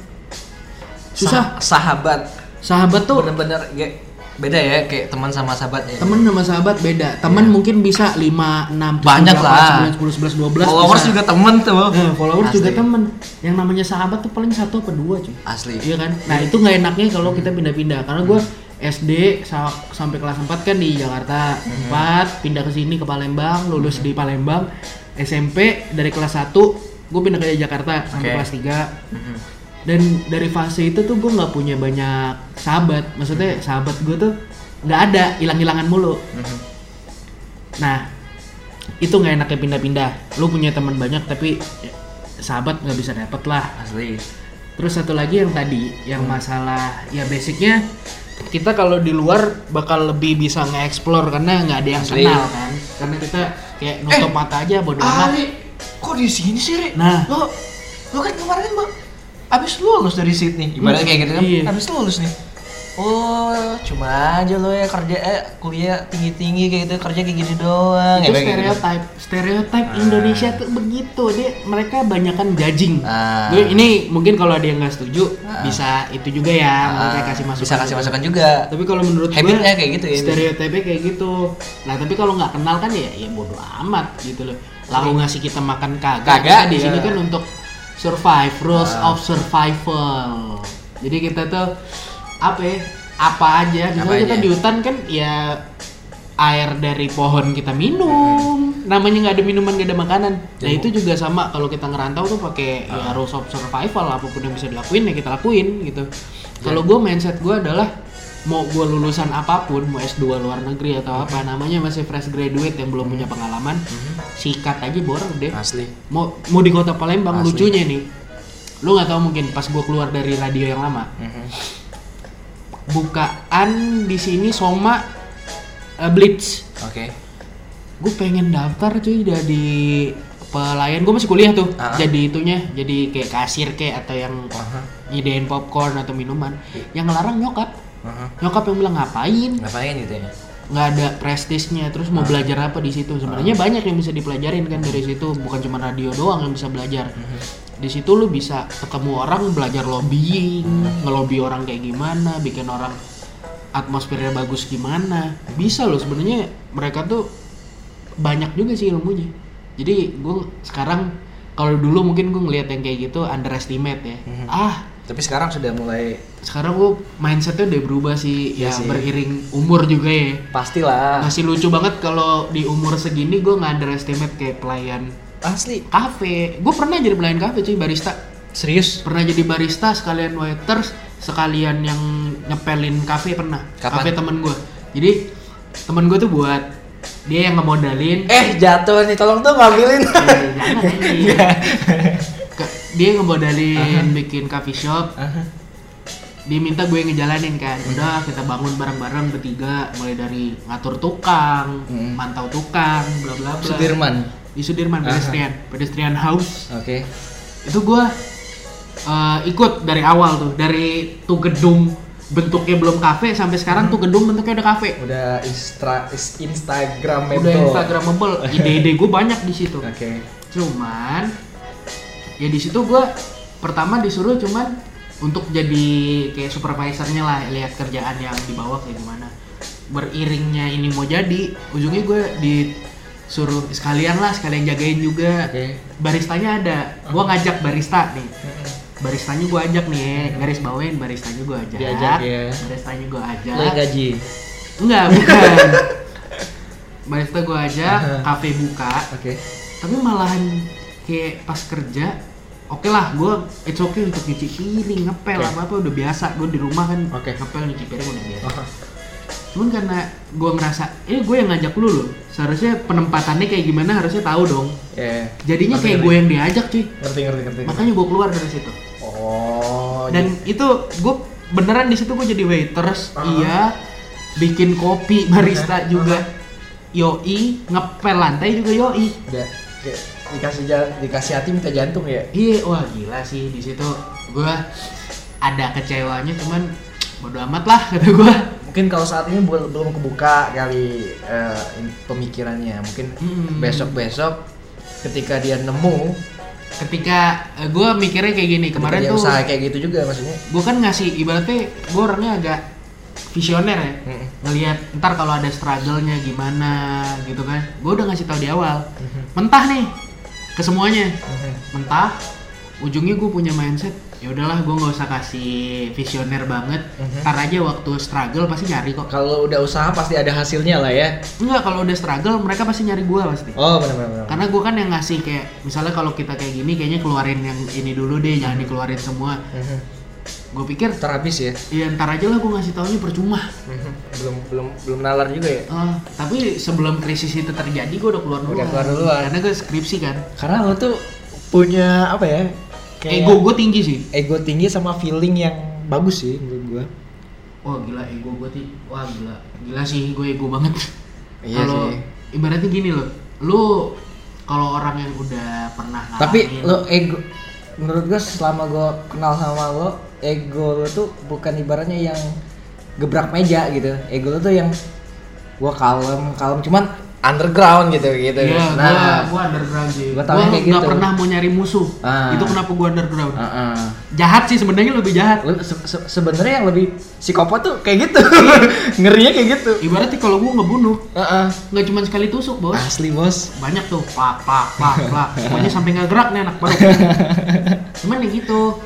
B: Susah.
A: Sah- sahabat
B: Sahabat tuh
A: bener-bener kayak beda ya kayak teman sama sahabat ya
B: temen sama sahabat beda. Temen mungkin bisa 5, 6, 7,
A: Iya. Banyak lah.
B: 10, 11, 12
A: followers
B: bisa.
A: juga temen tuh
B: Eh, followers
A: Asli.
B: juga temen. Yang namanya sahabat tuh paling satu apa dua cuy.
A: asli
B: Iya kan? Nah, itu nggak enaknya kalau kita pindah-pindah karena gua SD sa- sampai kelas 4 kan di Jakarta.
A: Hmm.
B: 4 pindah ke sini ke Palembang, lulus di Palembang. SMP dari kelas 1 gue pindah ke Jakarta sampai
A: Oke.
B: kelas 3
A: Mhm.
B: dan dari fase itu tuh gue nggak punya banyak sahabat maksudnya sahabat gue tuh nggak ada hilang-hilangan mulu
A: Mhm.
B: nah itu nggak enaknya pindah-pindah lu punya teman banyak tapi ya, sahabat nggak bisa dapet lah
A: asli
B: terus satu lagi yang tadi yang
A: Hmm.
B: masalah ya basicnya kita kalau di luar bakal lebih bisa nge-explore karena nggak ada yang
A: Asli. Eh,
B: kenal kan karena kita kayak nutup mata aja bodo amat
A: Ari, Ah, kok di sini sih, Ri?
B: Nah.
A: lo lo kan kemarin kan Bang, abis lulus dari Sydney. Ibaratnya kayak gitu kan,
B: Iya.
A: abis lulus nih. Oh, cuma aja lo ya kerja eh kuliah tinggi-tinggi kayak gitu, kerja kayak gini doang. Ya, kayak
B: itu
A: gitu.
B: stereotype stereotype
A: Ah.
B: Indonesia tuh begitu dia mereka banyakan judging
A: Ah.
B: Gue- ini mungkin kalau ada yang nggak setuju
A: Ah.
B: bisa itu juga ya maksudnya
A: Ah,
B: kasih masukan
A: Bisa kasih masukan juga.
B: tapi kalau menurut gue
A: Habitnya kayak gitu ya.
B: stereotype kayak gitu nah tapi kalau nggak kenal kan ya ya bodo amat gitu loh lalu ngasih kita makan kagak
A: Iya. Kagak,
B: Kita di
A: iya. Nah.
B: sini kan untuk survive rules of survival jadi kita tuh apa ya, apa aja
A: Apa
B: misalnya kita
A: aja.
B: di hutan kan ya air dari pohon kita minum namanya nggak ada minuman nggak ada makanan nah
A: Jadi-
B: itu juga sama kalau kita ngerantau tuh pakai ya, rules of survival apapun yang bisa dilakuin ya kita lakuin gitu kalau gue mindset gue adalah mau gue lulusan apapun mau S2 luar negeri atau apa namanya masih fresh graduate yang belum punya pengalaman sikat aja borong deh
A: Asli.
B: mau mau di kota
A: Ah.
B: Palembang
A: Asli.
B: lucunya nih lu nggak tahu mungkin pas gue keluar dari radio yang lama
A: Mhm.
B: bukaan di sini Soma eh, Blitz
A: Oke.
B: gue pengen daftar cuy jadi pelayan gue masih kuliah tuh
A: Ah.
B: jadi itunya jadi kayak kasir kayak atau yang
A: Aha,
B: nyediain popcorn atau minuman yang ngelarang nyokap
A: aha.
B: nyokap yang bilang ngapain
A: Ngapain gitu ya?
B: nggak ada prestisnya terus
A: Hmm.
B: mau belajar apa di situ sebenarnya banyak yang bisa dipelajarin kan dari situ bukan cuma radio doang yang bisa belajar
A: Hmm.
B: di situ lu bisa ketemu orang belajar lobbying
A: Hmm.
B: ngelobi orang kayak gimana bikin orang atmosfernya bagus gimana bisa loh sebenarnya mereka tuh banyak juga sih ilmunya jadi gue sekarang kalau dulu mungkin gue ngelihat yang kayak gitu underestimate ya
A: Mhm.
B: ah
A: Tapi sekarang sudah mulai
B: sekarang gue mindsetnya udah berubah sih
A: Iya
B: ya
A: sih.
B: beriring umur juga ya
A: pastilah.
B: masih lucu banget kalau di umur segini gue nggak underestimate kayak pelayan
A: Asli.
B: kafe gue pernah jadi pelayan kafe cuy barista
A: Serius?
B: pernah jadi barista sekalian waiters sekalian yang ngepelin kafe pernah
A: Kapan?
B: kafe temen gue jadi temen gue tuh buat dia yang ngemodalin
A: Eh, jatuh nih. Tolong tuh (laughs) ngambilin.
B: Eh, jangan,
A: (laughs)
B: ini. Ke- dia ngemodalin bikin coffee shop
A: Aha.
B: dia minta gue ngejalanin kan
A: Hmm.
B: udah kita bangun bareng-bareng bertiga mulai dari ngatur tukang
A: Hmm.
B: mantau tukang bla bla bla
A: Sudirman.
B: di Sudirman
A: Aha.
B: pedestrian pedestrian house
A: Oke.
B: itu gua eh, ikut dari awal tuh dari tuh gedung bentuknya belum kafe sampai sekarang tuh gedung bentuknya udah kafe
A: udah instra is- Instagram
B: udah instagramable ide-ide gue banyak di situ
A: Oke.
B: cuman ya di situ gua pertama disuruh cuman untuk jadi kayak supervisornya lah lihat kerjaan yang dibawa kayak gimana beriringnya ini mau jadi ujungnya gue disuruh sekalian lah sekalian jagain juga
A: Oke.
B: baristanya ada gua ngajak barista nih baristanya gua ajak nih garis bawain baristanya gua ajak
A: Diajak, ya.
B: baristanya gua ajak
A: Lo yang gaji.
B: enggak
A: (laughs)
B: bukan barista gua ajak
A: Aha.
B: kafe buka
A: Oke.
B: tapi malahan kayak pas kerja oke lah gue it's okay untuk nyuci piring ngepel
A: Oke.
B: apa apa udah biasa gue di rumah kan
A: Oke.
B: ngepel nyuci piring udah biasa cuman karena gue ngerasa ini gue yang ngajak lu loh seharusnya penempatannya kayak gimana harusnya tahu dong
A: Ya,
B: jadinya
A: Ngerti,
B: kayak
A: ngerti.
B: gue yang diajak cuy
A: ngerti ngerti ngerti.
B: makanya gue keluar dari situ
A: Oh.
B: dan itu gue beneran di situ gue jadi waiters
A: Ah.
B: iya bikin
A: (laughs)
B: kopi barista
A: Oke,
B: juga
A: Uh-huh.
B: yoi ngepel lantai juga yoi
A: jadi- udah kayak dikasih ja- dikasih hati minta jantung ya.
B: iya wah gila sih di situ gue ada kecewanya cuman bodo amat lah (laughs) kata gue
A: Mungkin kalau saat ini bel- belum kebuka kali eh, in- pemikirannya. Mungkin
B: Hmm.
A: besok-besok ketika dia nemu
B: ketika gue mikirnya kayak gini
A: ketika
B: kemarin
A: dia
B: tuh
A: usaha kayak gitu juga maksudnya.
B: gue kan ngasih ibaratnya gue orangnya agak visioner ya
A: Mm-mm.
B: ngelihat ntar kalau ada struggle-nya gimana gitu kan gue udah ngasih tahu di awal
A: Mm-hmm.
B: mentah nih ke semuanya
A: Mhm.
B: mentah ujungnya gue punya mindset ya udahlah gue nggak usah kasih visioner banget
A: Mhm.
B: ntar aja waktu struggle pasti nyari kok
A: Kalau udah usaha pasti ada hasilnya lah ya.
B: enggak kalau udah struggle mereka pasti nyari gue pasti
A: Oh benar-benar.
B: karena gue kan yang ngasih kayak misalnya kalau kita kayak gini kayaknya keluarin yang ini dulu deh jangan dikeluarin semua
A: Mhm.
B: gue pikir
A: Terhabis ya.
B: ya ntar aja lah gue ngasih taunya percuma
A: Mhm. Belum belum belum nalar juga ya.
B: Eh, tapi sebelum krisis itu terjadi gue udah keluar duluan
A: Udah keluar duluan.
B: karena gue skripsi kan
A: Karena lo tuh punya apa ya? kayak-
B: ego gue tinggi sih
A: ego tinggi sama feeling yang bagus sih menurut gua.
B: wah gila ego gue ti wah gila gila sih gue ego banget
A: Iya
B: kalau
A: sih.
B: ibaratnya gini loh lu kalau orang yang udah pernah ngalamin
A: Tapi lo ego menurut gua selama gua kenal sama lo, ego lo tuh bukan ibaratnya yang gebrak meja gitu. Ego lo tuh yang gua kalem, kalem cuman underground gitu gitu.
B: Iya, gua,
A: nah,
B: gua underground sih.
A: Gua
B: Gua,
A: taunya kayak
B: nggak
A: gitu.
B: pernah mau nyari musuh.
A: Ah.
B: Itu kenapa gua underground.
A: Heeh.
B: Jahat sih sebenarnya lebih jahat.
A: Lo se- se- sebenarnya yang lebih psikopat tuh kayak gitu. (laughs) Ngerinya kayak gitu.
B: Ibaratnya kalau gua ngebunuh,
A: Heeh.
B: nggak cuma sekali tusuk, Bos.
A: Asli bos.
B: banyak tuh plak plak plak
A: (laughs)
B: plak pokoknya sampai nggak gerak nih anak baru cuman ya gitu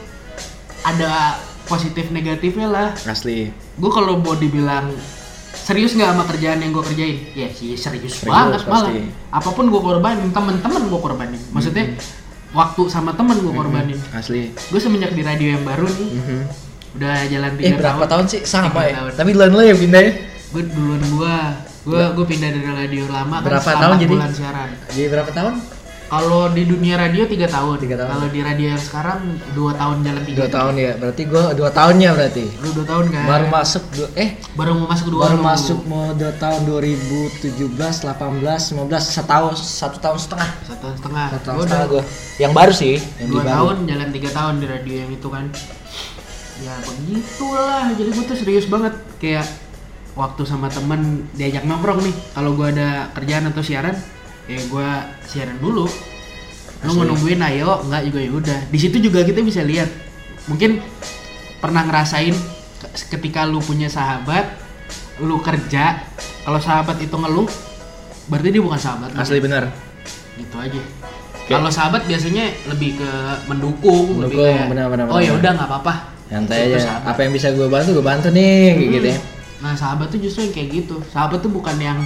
B: ada positif negatifnya lah
A: Asli.
B: gue kalau mau dibilang serius nggak sama kerjaan yang gue kerjain ya sih serius,
A: Serius,
B: banget malah
A: pasti.
B: apapun gue korbanin temen-temen gue korbanin maksudnya
A: Mm-hmm.
B: waktu sama temen gue korbanin
A: Hmm, Asli.
B: gue semenjak di radio yang baru nih
A: Mhm.
B: udah jalan
A: Eh
B: tiga
A: berapa tahun sih sama
B: Tiga
A: ya?
B: tahun. Iya.
A: Tapi duluan lo yang pindah ya?
B: gue duluan gue gue gue pindah dari radio lama
A: Berapa
B: kan
A: tahun
B: selama
A: jadi?
B: bulan siaran
A: Jadi berapa tahun?
B: Kalau di dunia radio tiga tahun.
A: Tiga tahun.
B: Kalau di radio yang sekarang dua tahun jalan tiga.
A: Dua tahun ya. Berarti gua dua tahunnya berarti.
B: Lu dua tahun kan?
A: Baru masuk du- eh
B: Baru mau masuk dua.
A: baru
B: lu.
A: masuk mau dua tahun 2017, 18, 19 setahun satu tahun setengah.
B: Satu tahun setengah.
A: Satu tahun
B: Ah, Gua
A: setengah
B: udah
A: gua. Yang baru sih, yang di
B: Dua
A: baru.
B: tahun jalan tiga tahun di radio yang itu kan. Ya begitulah. Jadi gue tuh serius banget kayak waktu sama temen diajak nongkrong nih. Kalau gua ada kerjaan atau siaran, ya gua siaran dulu. Lu mau nungguin ayo, enggak juga ya udah. Di situ juga kita bisa lihat. Mungkin pernah ngerasain ke- ketika lu punya sahabat, lu kerja, kalau sahabat itu ngeluh, berarti dia bukan sahabat. lu.
A: Asli benar.
B: gitu aja.
A: Oke.
B: Kalau sahabat biasanya lebih ke mendukung, lebih
A: Mendukung,
B: kayak,
A: benar, benar, benar.
B: Oh ya udah nggak apa-apa.
A: Santai
B: Itu
A: aja.
B: sahabat.
A: Apa yang bisa gua bantu, gua bantu nih kayak gitu ya.
B: Nah sahabat tuh justru yang kayak gitu. Sahabat tuh bukan yang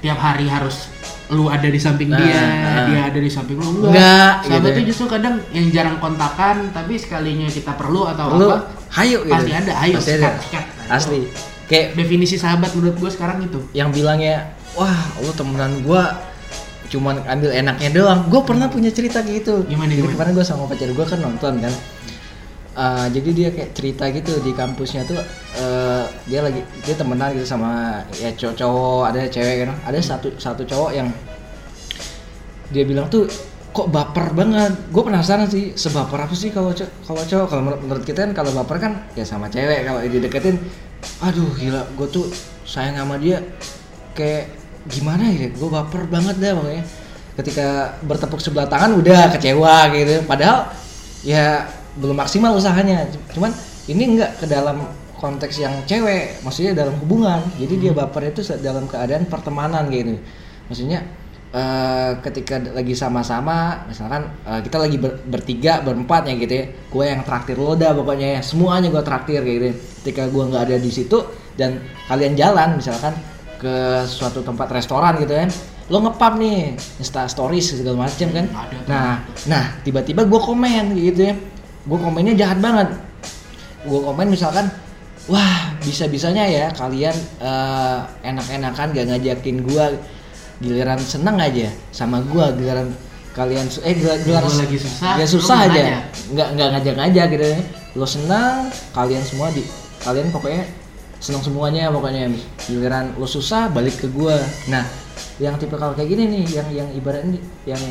B: tiap hari harus lu ada di samping
A: Nah,
B: dia,
A: nah.
B: dia ada di samping lu enggak.
A: Enggak,
B: sahabat
A: gitu ya.
B: tuh justru kadang yang jarang kontakan, tapi sekalinya kita perlu atau
A: Perlu
B: apa,
A: hayo gitu.
B: Hmm. pasti ada. Ayo,
A: Pasti ada.
B: sikat, sikat. Ayo.
A: Asli. Kayak
B: definisi sahabat menurut gue sekarang itu.
A: yang bilangnya wah lu temenan gua cuman ambil enaknya doang gue pernah punya cerita kayak gitu
B: Gimana,
A: Jadi
B: gimana?
A: kemarin gue sama pacar gue kan nonton kan Eh, jadi dia kayak cerita gitu di kampusnya tuh eh, dia lagi dia temenan gitu sama ya cowok, cowok ada cewek kan ada satu satu cowok yang dia bilang tuh kok baper banget gue penasaran sih sebaper apa sih kalau cow- kalau cowok kalau menur- menurut kita kan kalau baper kan ya sama cewek kalau dideketin aduh gila gue tuh sayang sama dia kayak gimana ya gue baper banget dah pokoknya ketika bertepuk sebelah tangan udah kecewa gitu padahal ya belum maksimal usahanya C- cuman ini enggak ke dalam konteks yang cewek maksudnya dalam hubungan jadi dia baper itu se- dalam keadaan pertemanan gitu maksudnya eh ketika d- lagi sama-sama misalkan eh, kita lagi ber- bertiga berempat ya gitu ya gue yang traktir lo dah pokoknya ya semuanya gue traktir kayak gitu ketika gue nggak ada di situ dan kalian jalan misalkan ke suatu tempat restoran gitu kan lo ngepap nih insta stories segala macem kan
B: Ada tuh.
A: nah nah tiba-tiba gue komen gitu ya gue komennya jahat banget gue komen misalkan wah bisa bisanya ya kalian eh, enak-enakan gak ngajakin gua giliran seneng aja sama gua giliran kalian su- eh gila- giliran
B: Gua lagi susah,
A: ya
B: lu
A: susah
B: nggak
A: aja
B: nanya.
A: nggak nggak ngajak aja gitu ya. lo senang kalian semua di kalian pokoknya senang semuanya pokoknya giliran lo susah balik ke gua nah yang tipe kalau kayak gini nih yang yang ibaratnya nih, yang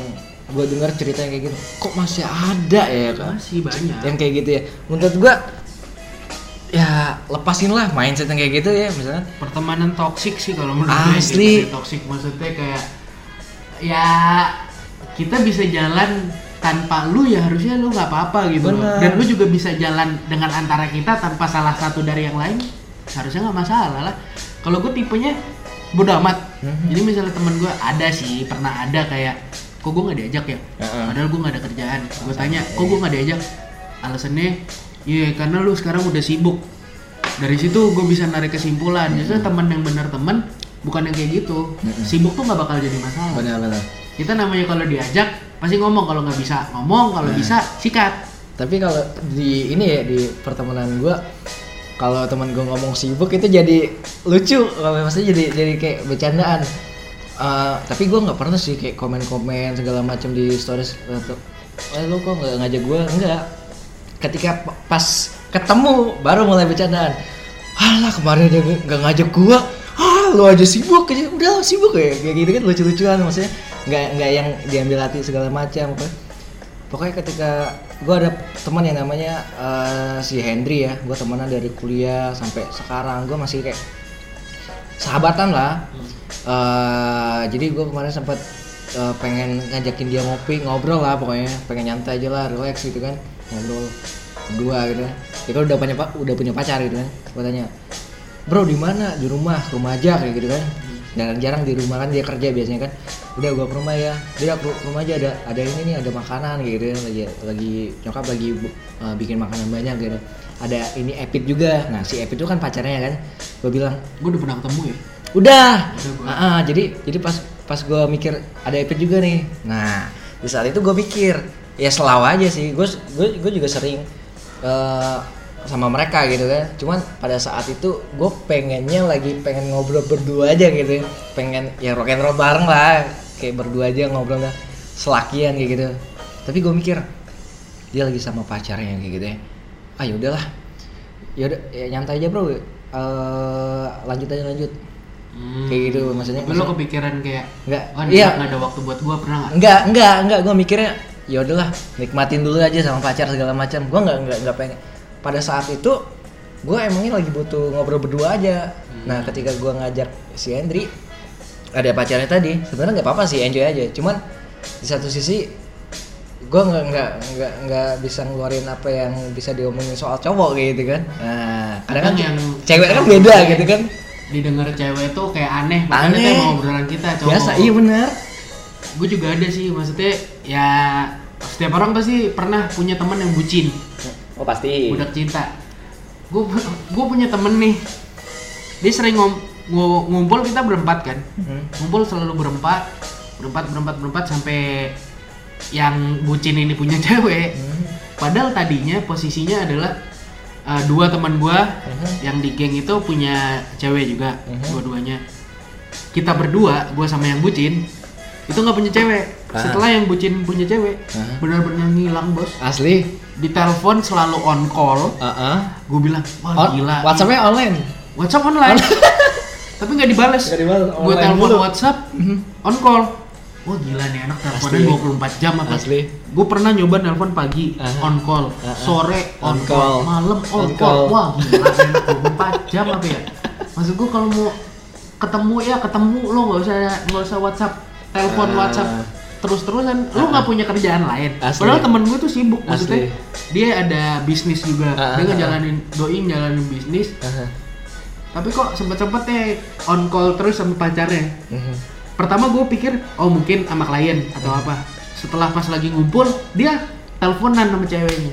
A: gua dengar ceritanya kayak gini kok masih ada ya kan
B: masih banyak
A: yang kayak gitu ya menurut gua ya lepasin lah mindset yang kayak gitu ya misalnya
B: pertemanan toksik sih kalau menurut gue
A: Ah, Asli.
B: gitu sih, toksik maksudnya kayak ya kita bisa jalan tanpa lu ya harusnya lu nggak apa-apa gitu loh.
A: Bener.
B: dan lu juga bisa jalan dengan antara kita tanpa salah satu dari yang lain harusnya nggak masalah lah kalau gue tipenya bodo amat
A: Mm-hmm.
B: jadi misalnya temen gue ada sih pernah ada kayak kok gue nggak diajak ya
A: Heeh.
B: padahal gue nggak ada kerjaan gue tanya kok gue nggak diajak alasannya ya karena lu sekarang udah sibuk dari situ gue bisa narik kesimpulan justru
A: Hmm.
B: teman yang benar teman bukan yang kayak gitu sibuk tuh nggak bakal jadi masalah
A: benar-benar
B: kita namanya kalau diajak pasti ngomong kalau nggak bisa ngomong kalau bisa sikat
A: tapi kalau di ini ya di pertemanan gua kalau teman gua ngomong sibuk itu jadi lucu kalau maksudnya jadi jadi kayak bercandaan Eh, tapi gua nggak pernah sih kayak komen-komen segala macam di stories atau eh lu kok nggak ngajak gua enggak ketika p- pas ketemu baru mulai bercandaan alah kemarin dia nggak ngajak gua ah lu aja sibuk aja udah lu sibuk ya kayak gitu kan lucu-lucuan maksudnya nggak nggak yang diambil hati segala macam pokoknya ketika gue ada teman yang namanya eh, si Hendry ya gue temenan dari kuliah sampai sekarang gue masih kayak sahabatan lah Eh, jadi gue kemarin sempat eh, pengen ngajakin dia ngopi ngobrol lah pokoknya pengen nyantai aja lah relax gitu kan ngobrol berdua gitu kan ya kalau udah punya pa- udah punya pacar gitu kan gue tanya bro di mana di rumah ke rumah aja kayak gitu kan jarang-jarang di rumah kan dia kerja biasanya kan udah gua ke rumah ya udah ke ke rumah aja ada ada ini nih ada makanan kayak gitu kan. lagi lagi nyokap lagi bu- eh, bikin makanan banyak gitu ada ini Epit juga nah si Epit itu kan pacarnya kan gue bilang
B: gue udah pernah ketemu ya
A: udah
B: Udah gua.
A: Ah, ah, jadi jadi pas pas gue mikir ada Epit juga nih nah di saat itu gue pikir ya selaw aja sih gue gue juga sering eh, sama mereka gitu kan cuman pada saat itu gue pengennya lagi pengen ngobrol berdua aja gitu pengen ya rock and roll bareng lah kayak berdua aja ngobrol lah selakian kayak gitu tapi gue mikir dia lagi sama pacarnya kayak gitu ya ah ya udahlah ya udah ya nyantai aja bro Eh, lanjut aja lanjut kayak gitu maksudnya
B: tapi lo kepikiran kayak
A: Nggak.
B: oh
A: Iya.
B: nggak ada waktu buat gue pernah nggak
A: enggak enggak enggak gue mikirnya ya udahlah nikmatin dulu aja sama pacar segala macam gue nggak nggak nggak pengen pada saat itu gue emangnya lagi butuh ngobrol berdua aja nah ketika gue ngajak si Hendri ada pacarnya tadi sebenarnya nggak apa-apa sih enjoy aja cuman di satu sisi gue nggak nggak nggak nggak bisa ngeluarin apa yang bisa diomongin soal cowok kayak gitu kan nah kadang kan
B: Kadang yang
A: cewek kan beda gitu kan
B: didengar cewek tuh kayak aneh makanya
A: Aneh.
B: tuh emang obrolan kita cowok
A: biasa iya benar
B: gue juga ada sih maksudnya ya setiap orang pasti pernah punya teman yang bucin
A: oh pasti
B: budak cinta gue gue punya temen nih dia sering ngom, ngo- ngumpul kita berempat kan
A: Hmm.
B: ngumpul selalu berempat berempat berempat berempat sampai yang bucin ini punya (laughs) cewek
A: Hmm.
B: padahal tadinya posisinya adalah uh, dua teman gua
A: Mhm.
B: yang di geng itu punya cewek juga
A: Mhm.
B: dua-duanya kita berdua gua sama yang bucin itu nggak punya cewek
A: Ah.
B: setelah yang bucin punya cewek
A: Ah.
B: benar-benar ngilang bos
A: asli
B: ditelepon selalu on call
A: Heeh.
B: gue bilang wah
A: On-
B: Oh, gila
A: WhatsApp-nya online.
B: WhatsApp online (laughs) tapi nggak dibales
A: Nggak dibales,
B: gue
A: online
B: telepon
A: mulu.
B: WhatsApp mm-hmm. on call wah gila nih anak teleponan
A: Asli.
B: 24 jam apa
A: Asli.
B: gue pernah nyoba telepon pagi
A: Aha.
B: on call
A: Aha.
B: sore on,
A: On
B: call.
A: call.
B: malam on,
A: On
B: call.
A: call.
B: wah gila nih anak 24 jam apa ya maksud gue kalau mau ketemu ya ketemu lo nggak usah nggak usah WhatsApp telepon
A: Ah.
B: WhatsApp terus-terusan lo nggak punya kerjaan lain
A: Asli.
B: padahal temen gue tuh sibuk
A: Asli.
B: maksudnya dia ada bisnis juga
A: Ah, ah,
B: dia
A: ah.
B: ngejalanin doing jalanin bisnis Uh-huh. tapi kok sempet-sempetnya on call terus sama pacarnya Uh-huh. pertama gue pikir oh mungkin sama klien atau apa setelah pas lagi ngumpul dia teleponan sama ceweknya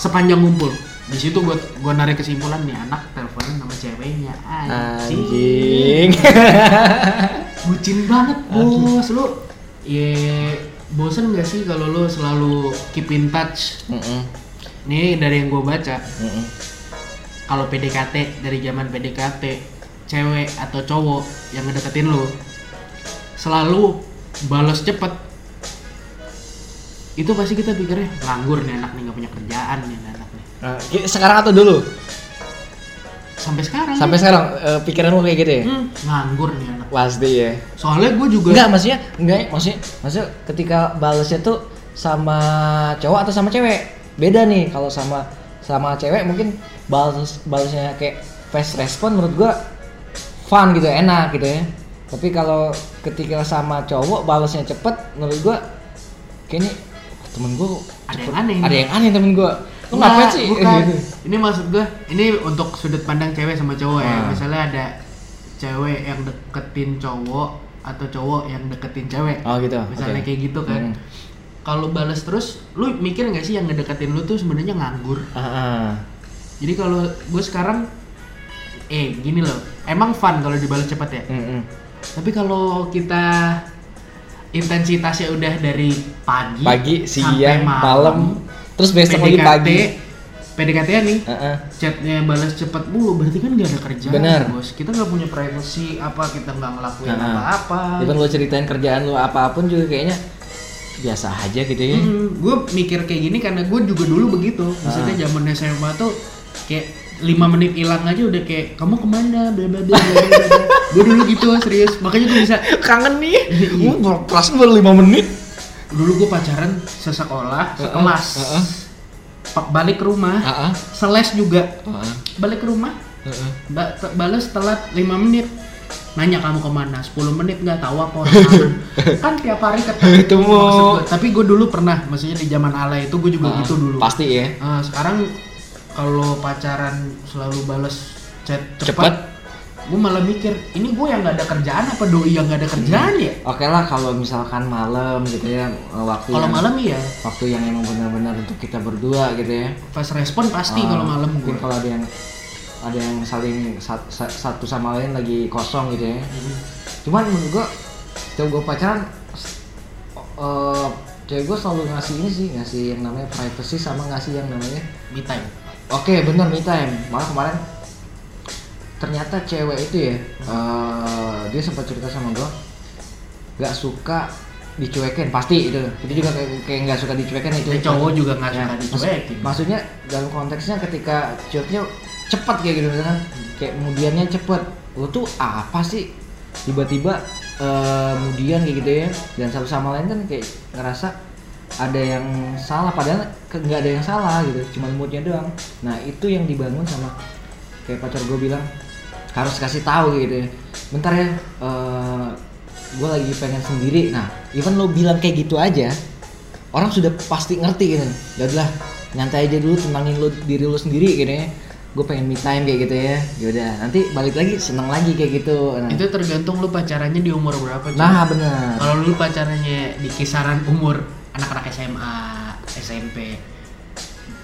B: sepanjang ngumpul di situ gue gue narik kesimpulan nih anak teleponan sama ceweknya anjing
A: Anjing.
B: bucin banget bos lu ye bosen gak sih kalau lu selalu keep in touch
A: (laughs) Mm-mm,
B: nih dari yang gue baca
A: mm-mm.
B: kalau PDKT dari zaman PDKT cewek atau cowok yang ngedeketin lu selalu balas cepet itu pasti kita pikirnya nganggur nih anak nih nggak punya kerjaan nih anak nih
A: Nah, i- sekarang atau dulu?
B: sampai sekarang
A: Sampai
B: nih.
A: sekarang eh, pikiran lu kayak gitu ya?
B: Hmm, nganggur nih anak
A: Pasti ya.
B: soalnya gue juga
A: Enggak, maksudnya enggak, ya, maksudnya maksudnya ketika balesnya tuh sama cowok atau sama cewek. Beda nih kalau sama sama cewek mungkin balas balasnya kayak fast respon menurut gua fun gitu, enak gitu ya. Tapi kalau ketika sama cowok balasnya cepet menurut gua kayaknya "Wah, temen gua
B: Ada
A: cepet-
B: yang aneh."
A: Ada yang aneh temen gua. Lu
B: Nggak,
A: ngapain sih? (laughs)
B: bukan.
A: Gitu.
B: ini maksud gue ini untuk sudut pandang cewek sama cowok ya
A: Hmm.
B: misalnya ada cewek yang deketin cowok atau cowok yang deketin cewek
A: Oh gitu.
B: misalnya
A: oke.
B: kayak gitu
A: Hmm.
B: kan kalau balas terus lu mikir nggak sih yang ngedeketin lu tuh sebenarnya nganggur
A: Ah, ah.
B: jadi kalau gue sekarang eh gini loh emang fun kalau dibalas cepat ya
A: Mm, mm.
B: tapi kalau kita intensitasnya udah dari pagi
A: Pagi,
B: sampai
A: siang, malam, terus besok lagi
B: PDKT,
A: pagi.
B: PDKT -an ya nih
A: Ah, ah.
B: chatnya balas cepet mulu berarti kan gak ada kerjaan
A: Bener.
B: bos kita nggak punya privacy apa kita nggak ngelakuin
A: Nah,
B: apa-apa
A: Even lo ceritain kerjaan lo apapun juga kayaknya biasa aja gitu ya.
B: gue Mm-hmm. mikir kayak gini karena gue juga dulu begitu maksudnya
A: Ah.
B: zaman SMA tuh kayak lima menit hilang aja udah kayak kamu kemana bla bla bla
A: (laughs)
B: gue dulu gitu serius makanya gue bisa
A: (laughs) Kangen nih. Gua kelas baru 5 menit.
B: dulu gue pacaran sesekolah
A: Heeh,
B: sekelas
A: heeh.
B: Pa- balik ke rumah
A: Heeh.
B: seles juga
A: Heeh.
B: balik ke rumah ba- te- balas telat 5 menit nanya kamu kemana 10 menit nggak tahu apa orang
A: (laughs)
B: kangen. kan tiap hari ketemu
A: Ketemu.
B: Maksud gua, tapi gue dulu pernah maksudnya di zaman ala itu gue juga
A: Ah,
B: gitu dulu
A: Pasti ya.
B: Ah, sekarang kalau pacaran selalu balas chat
A: Cepet.
B: cepat gue malah mikir ini gue yang nggak ada kerjaan apa doi yang nggak ada kerjaan ya
A: Oke lah kalau misalkan malam gitu ya waktu
B: kalau
A: yang-
B: malam iya
A: waktu yang emang benar-benar untuk kita berdua gitu ya.
B: pas respon pasti kalau
A: Ah,
B: malam
A: mungkin
B: gue
A: kalau ada yang ada yang saling sat- sa- satu sama lain lagi kosong gitu ya.
B: Hmm,
A: cuman menurut gua setiap gua pacaran s- eh cewek gua selalu ngasih ini sih ngasih yang namanya privacy sama ngasih yang namanya
B: me time
A: oke bener me time malah kemarin ternyata cewek itu ya eh, dia sempat cerita sama gua nggak suka dicuekin pasti itu itu juga kayak kayak nggak suka dicuekin itu
B: Dan cowok juga nggak
A: Ya,
B: suka
A: maksud-
B: dicuekin
A: maksudnya dalam konteksnya ketika cueknya cepet kayak gitu misalkan kayak kemudiannya cepet lo tuh apa sih tiba-tiba eh, kemudian kayak gitu ya dan satu sama lain kan kayak ngerasa ada yang salah padahal ke- nggak ada yang salah gitu cuma moodnya doang nah itu yang dibangun sama kayak pacar gue bilang harus kasih tahu gitu ya bentar ya gue lagi pengen sendiri nah even lo bilang kayak gitu aja orang sudah pasti ngerti gitu udah nyantai aja dulu tenangin lo diri lo sendiri gitu ya gue pengen me time kayak gitu ya yaudah nanti balik lagi seneng lagi kayak gitu nah,
B: itu tergantung lu pacarannya di umur berapa cuy.
A: nah bener
B: Kalau lu pacarannya di kisaran umur anak-anak SMA, SMP,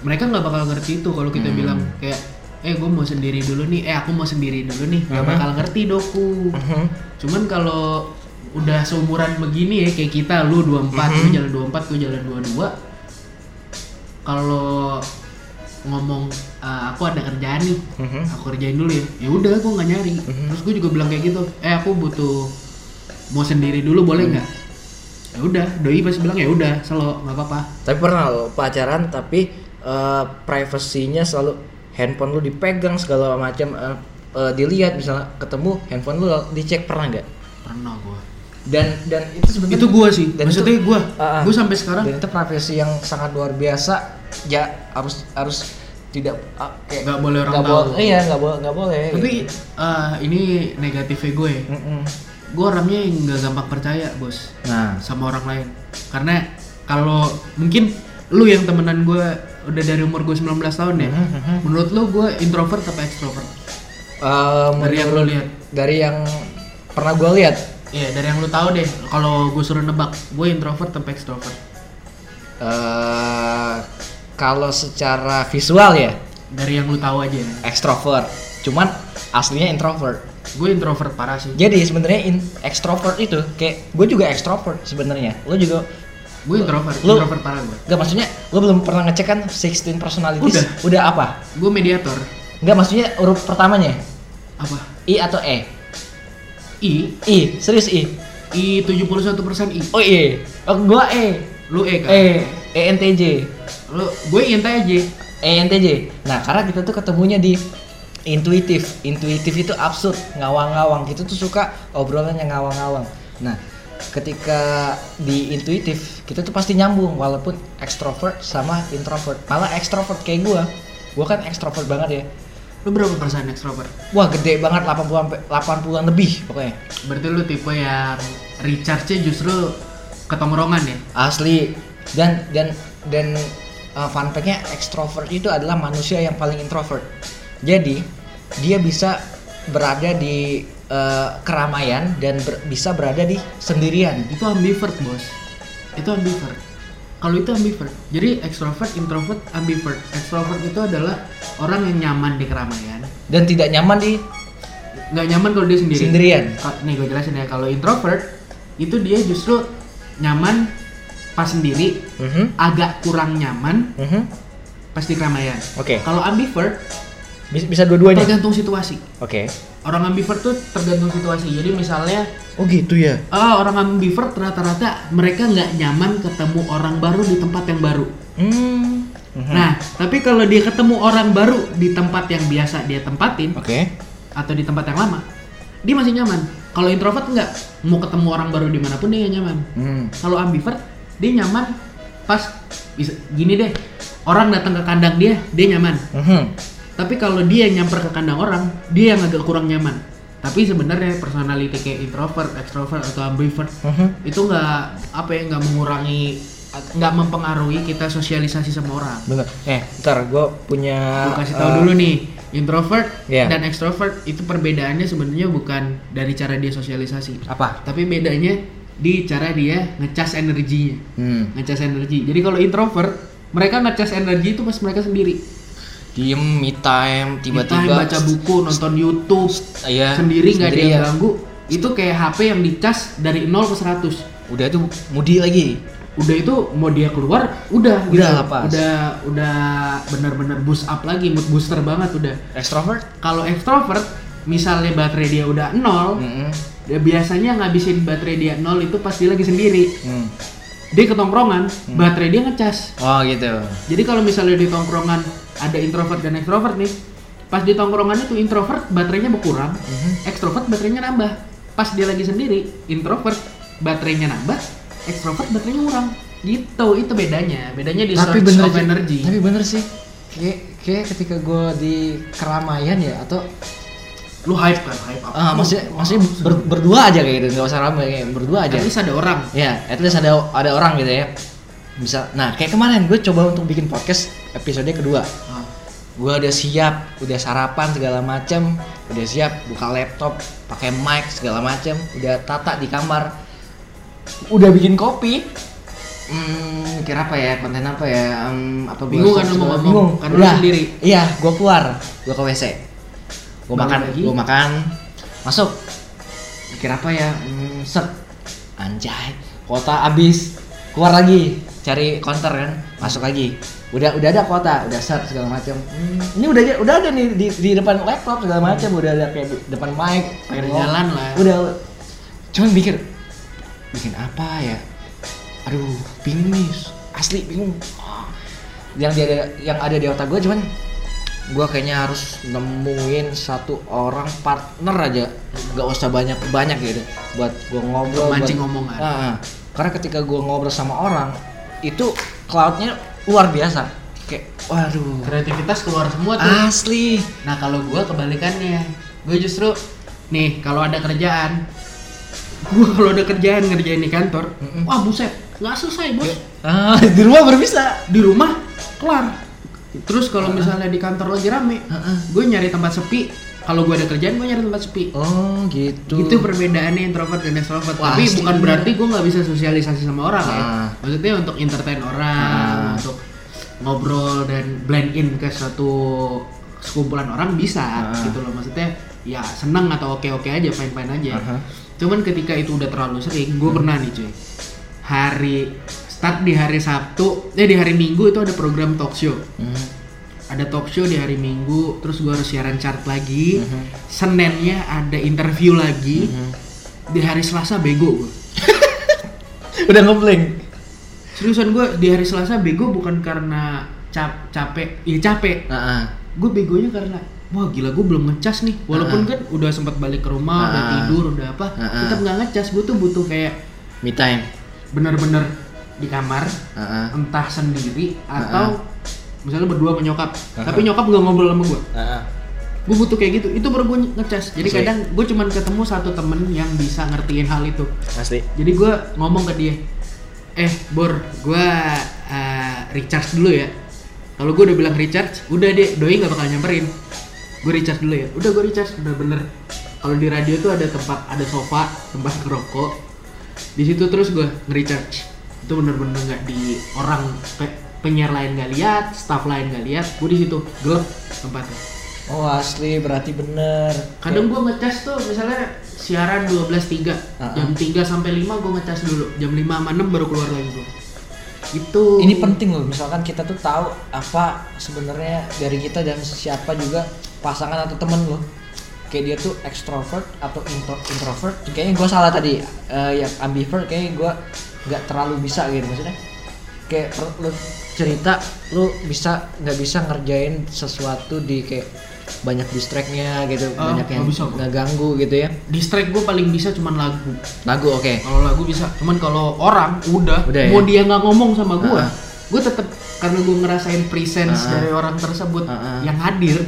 B: mereka nggak bakal ngerti itu kalau kita bilang kayak, eh gue mau sendiri dulu nih, eh aku mau sendiri dulu nih, nggak
A: Mhm.
B: bakal ngerti doku.
A: Mhm.
B: Cuman kalau udah seumuran begini ya kayak kita, lu 24, gue jalan 24, gue jalan 22 Kalau ngomong "Ah, aku ada kerjaan nih,
A: Mhm.
B: aku kerjain dulu ya ya udah gue nggak nyari terus gue juga bilang kayak gitu eh aku butuh mau sendiri dulu
A: Mhm.
B: boleh nggak ya udah doi pasti bilang ya udah selo nggak apa-apa
A: tapi pernah lo pacaran tapi eh, privasinya selalu handphone lo dipegang segala macam eh, dilihat misalnya ketemu handphone lo dicek pernah nggak
B: pernah gue
A: dan dan itu sebenarnya
B: itu gue sih
A: Dan
B: maksudnya
A: itu-
B: gue
A: Ah, ah.
B: gue sampai sekarang
A: dan itu profesi yang sangat luar biasa ya harus harus tidak ah, kayak
B: Nggak boleh orang
A: nggak
B: tahu.
A: boleh- iya nggak boleh nggak boleh
B: tapi
A: gitu.
B: eh, ini negatifnya gue
A: Mm-mm.
B: gue orangnya yang nggak gampang percaya bos
A: nah
B: sama orang lain karena kalau mungkin lu yang temenan gue udah dari umur gue 19 tahun ya
A: Mhm, mhm.
B: menurut lu gue introvert apa extrovert
A: eh,
B: dari yang lu
A: menurut-
B: lihat
A: dari yang pernah gue lihat
B: Iya, dari yang lu tahu deh, kalau gue suruh nebak, gue introvert atau extrovert?
A: eh, kalau secara visual ya
B: Dari yang lu tahu aja.
A: ekstrovert cuman aslinya introvert
B: Gue introvert parah sih.
A: jadi sebenarnya in ekstrovert itu kayak gue juga ekstrovert sebenarnya lo juga
B: Gue introvert,
A: Lu-
B: introvert parah gue.
A: Gak maksudnya lo belum pernah ngecek kan 16 personalities
B: Udah.
A: udah apa
B: Gue mediator.
A: Enggak maksudnya huruf pertamanya
B: apa
A: I atau E
B: I
A: I serius I
B: I 71% I
A: oh I oh, gua E
B: lu E kan
A: E E N T J
B: lu gue INTJ aja
A: E N T J nah karena kita tuh ketemunya di intuitif intuitif itu absurd ngawang-ngawang kita tuh suka obrolan yang ngawang-ngawang nah ketika di intuitif kita tuh pasti nyambung walaupun ekstrovert sama introvert malah ekstrovert kayak gua gua kan ekstrovert banget ya
B: lu berapa persen extrovert
A: wah gede banget 80 80-an lebih pokoknya
B: berarti lu tipe yang recharge-nya justru ketongrongan ya
A: asli dan dan dan uh, fun fact-nya ekstrovert itu adalah manusia yang paling introvert jadi dia bisa berada di uh, keramaian dan ber- bisa berada di sendirian
B: itu ambivert bos itu ambivert kalau itu ambivert jadi extrovert introvert ambivert extrovert itu adalah orang yang nyaman di keramaian
A: dan tidak nyaman di
B: nggak nyaman kalau dia sendiri
A: Sendirian.
B: Ka- nih gue jelasin ya kalau introvert itu dia justru nyaman pas sendiri
A: Mhm,
B: agak kurang nyaman
A: mhm.
B: pas di keramaian
A: Oke.
B: kalau ambivert
A: Bis- bisa dua-duanya
B: tergantung situasi
A: oke
B: orang ambivert tuh tergantung situasi jadi misalnya
A: oh gitu ya
B: ah, orang ambivert rata-rata mereka nggak nyaman ketemu orang baru di tempat yang baru
A: hmm. mhm.
B: Nah, tapi kalau dia ketemu orang baru di tempat yang biasa dia tempatin
A: oke
B: atau di tempat yang lama, dia masih nyaman. Kalau introvert nggak mau ketemu orang baru dimanapun dia nggak nyaman.
A: Hmm.
B: Kalau ambivert dia nyaman pas bisa gini deh orang datang ke kandang dia dia nyaman.
A: Mhm.
B: Tapi kalau dia yang nyamper ke kandang orang dia yang agak kurang nyaman. Tapi sebenarnya personality kayak introvert, extrovert atau ambivert
A: Mhm.
B: itu nggak apa ya nggak mengurangi nggak mempengaruhi kita sosialisasi sama orang.
A: bener eh ntar gue punya
B: Gue kasih tahu
A: uh,
B: dulu nih, introvert
A: Iya.
B: dan extrovert itu perbedaannya sebenarnya bukan dari cara dia sosialisasi,
A: apa
B: tapi bedanya di cara dia ngecas energinya,
A: hmm.
B: ngecas energi. Jadi kalau introvert mereka ngecas energi itu pas mereka sendiri.
A: diem me time
B: Entah yang
A: tiba-tiba
B: baca buku, nonton YouTube,
A: Iya,
B: sendiri nggak ada
A: sendiri
B: yang
A: ya.
B: ganggu. Itu kayak HP yang dicas dari 0 ke 100.
A: udah itu mudi lagi
B: Udah itu mau dia keluar, udah gitu.
A: Udah lepas.
B: Udah udah benar-benar boost up lagi, mood booster banget udah.
A: extrovert
B: kalau ekstrovert misalnya baterai dia udah nol
A: Mm-mm.
B: dia biasanya ngabisin baterai dia nol itu pas dia lagi sendiri
A: Hmm.
B: dia ketongkrongan baterai dia ngecas
A: oh gitu
B: jadi kalau misalnya di tongkrongan ada introvert dan ekstrovert nih pas di tongkrongan itu introvert baterainya berkurang
A: Hmm. Mm-hmm.
B: ekstrovert baterainya nambah pas dia lagi sendiri introvert baterainya nambah ekstrovert baterainya kurang gitu itu bedanya bedanya di source of
A: sih-
B: energy
A: tapi bener sih kayak kayak ketika gue di keramaian ya atau
B: lu hype kan hype apa
A: ah, maksudnya maksudnya ber- berdua aja kayak gitu nggak usah rame kayak berdua aja
B: at least ada orang
A: ya at least ada ada orang gitu ya bisa nah kayak kemarin gue coba untuk bikin podcast episode kedua
B: Ah.
A: gue udah siap udah sarapan segala macem udah siap buka laptop pakai mic segala macem udah tata di kamar udah bikin kopi hmm kira apa ya konten apa ya Hmm, apa gua
B: Bingung kan
A: harus-
B: lu mau
A: segala-
B: ngomong,
A: bingung
B: karena lu
A: Udah.
B: sendiri.
A: iya gue keluar gue ke wc gue
B: Bangun
A: makan
B: lagi.
A: gue makan masuk kira apa ya hmm, set anjay kuota habis keluar lagi cari counter kan masuk lagi udah udah ada kuota udah set segala macam Hmm, ini udah aja- udah ada nih di, di depan laptop segala macam udah ada kayak di depan mic
B: Pengen
A: ngomong.
B: Hmm. jalan lah.
A: udah cuman mikir bikin apa ya aduh bingung nih asli bingung Ah. yang dia ada yang ada di otak gue cuman gue kayaknya harus nemuin satu orang partner aja nggak usah banyak banyak gitu buat gue ngobrol buat-
B: Mancing omongan.
A: Ah, ah. karena ketika gue ngobrol sama orang itu cloudnya luar biasa kayak waduh
B: kreativitas keluar semua
A: Ah,
B: tuh.
A: asli
B: Nah kalau gua kebalikannya, gue justru nih kalau ada kerjaan, gua kalau ada kerjaan ngerjain di kantor,
A: Mm-mm.
B: wah buset nggak selesai bos.
A: ah, (laughs) di rumah berbisa
B: Di rumah kelar. Terus kalau misalnya di kantor lagi rame,
A: Heeh.
B: gue nyari tempat sepi. Kalau gua ada kerjaan, gue nyari tempat sepi.
A: oh gitu
B: Itu perbedaannya introvert dan extrovert.
A: Wah,
B: Tapi
A: asli.
B: bukan berarti gue nggak bisa sosialisasi sama orang ya.
A: Ah.
B: Maksudnya untuk entertain
A: Ah.
B: orang, untuk ngobrol dan blend in ke suatu sekumpulan orang bisa
A: Ah.
B: gitu loh. Maksudnya ya seneng atau oke oke aja, fine fine aja.
A: Aha.
B: Cuman ketika itu udah terlalu sering, gue pernah nih cuy. Hari start di hari Sabtu, eh di hari Minggu itu ada program talk show.
A: Hmm.
B: ada talk show di hari Minggu, terus gua harus siaran chart lagi. Seninnya ada interview lagi. Di hari Selasa bego gua.
A: Udah ngeblank.
B: Seriusan gua di hari Selasa bego bukan karena cap capek, ya capek.
A: Heeh.
B: Gue begonya karena wah gila gue belum ngecas nih. Walaupun kan udah sempat balik ke rumah, udah
A: Ah.
B: tidur, udah apa,
A: Ah.
B: tetap nggak ngecas. Gue tuh butuh kayak
A: Me time.
B: bener-bener di kamar
A: Heeh.
B: entah sendiri atau misalnya berdua sama nyokap tapi nyokap nggak ngobrol sama gue
A: Heeh.
B: gue butuh kayak gitu itu baru gue ngecas jadi
A: Asli.
B: kadang gue cuman ketemu satu temen yang bisa ngertiin hal itu
A: Asli.
B: jadi gue ngomong ke dia eh bor gue eh, recharge dulu ya kalau gue udah bilang recharge udah deh doi nggak bakal nyamperin gue recharge dulu ya udah gue recharge udah bener kalau di radio tuh ada tempat ada sofa tempat (laughs) ngerokok di situ terus gue nge-recharge itu bener-bener nggak di orang pe- penyiar lain nggak lihat staff lain nggak lihat gue di situ gelap tempatnya
A: Oh, asli berarti bener.
B: kadang gue ngecas tuh misalnya siaran 12.3 jam 3 sampai 5 gue ngecas dulu jam 5 sama 6 baru keluar lagi gue itu
A: Ini penting loh, misalkan kita tuh tahu apa sebenarnya dari kita dan siapa juga pasangan atau temen loh. Kayak dia tuh extrovert atau intro- introvert. Kayaknya gue salah tadi. Eh, yang ambivert kayaknya gue nggak terlalu bisa gitu maksudnya. Kayak per- lu cerita lu bisa nggak bisa ngerjain sesuatu di kayak banyak distractnya gitu,
B: Ah,
A: banyak yang
B: nggak bisa gua.
A: ngeganggu gitu ya.
B: distract gue paling bisa cuman lagu
A: Lagu oke.
B: kalau lagu bisa cuman kalau orang udah,
A: Udah ya?
B: mau dia nggak ngomong sama gue
A: Ah.
B: gue tetap karena gue ngerasain presence dari orang tersebut
A: Ah, ah.
B: yang hadir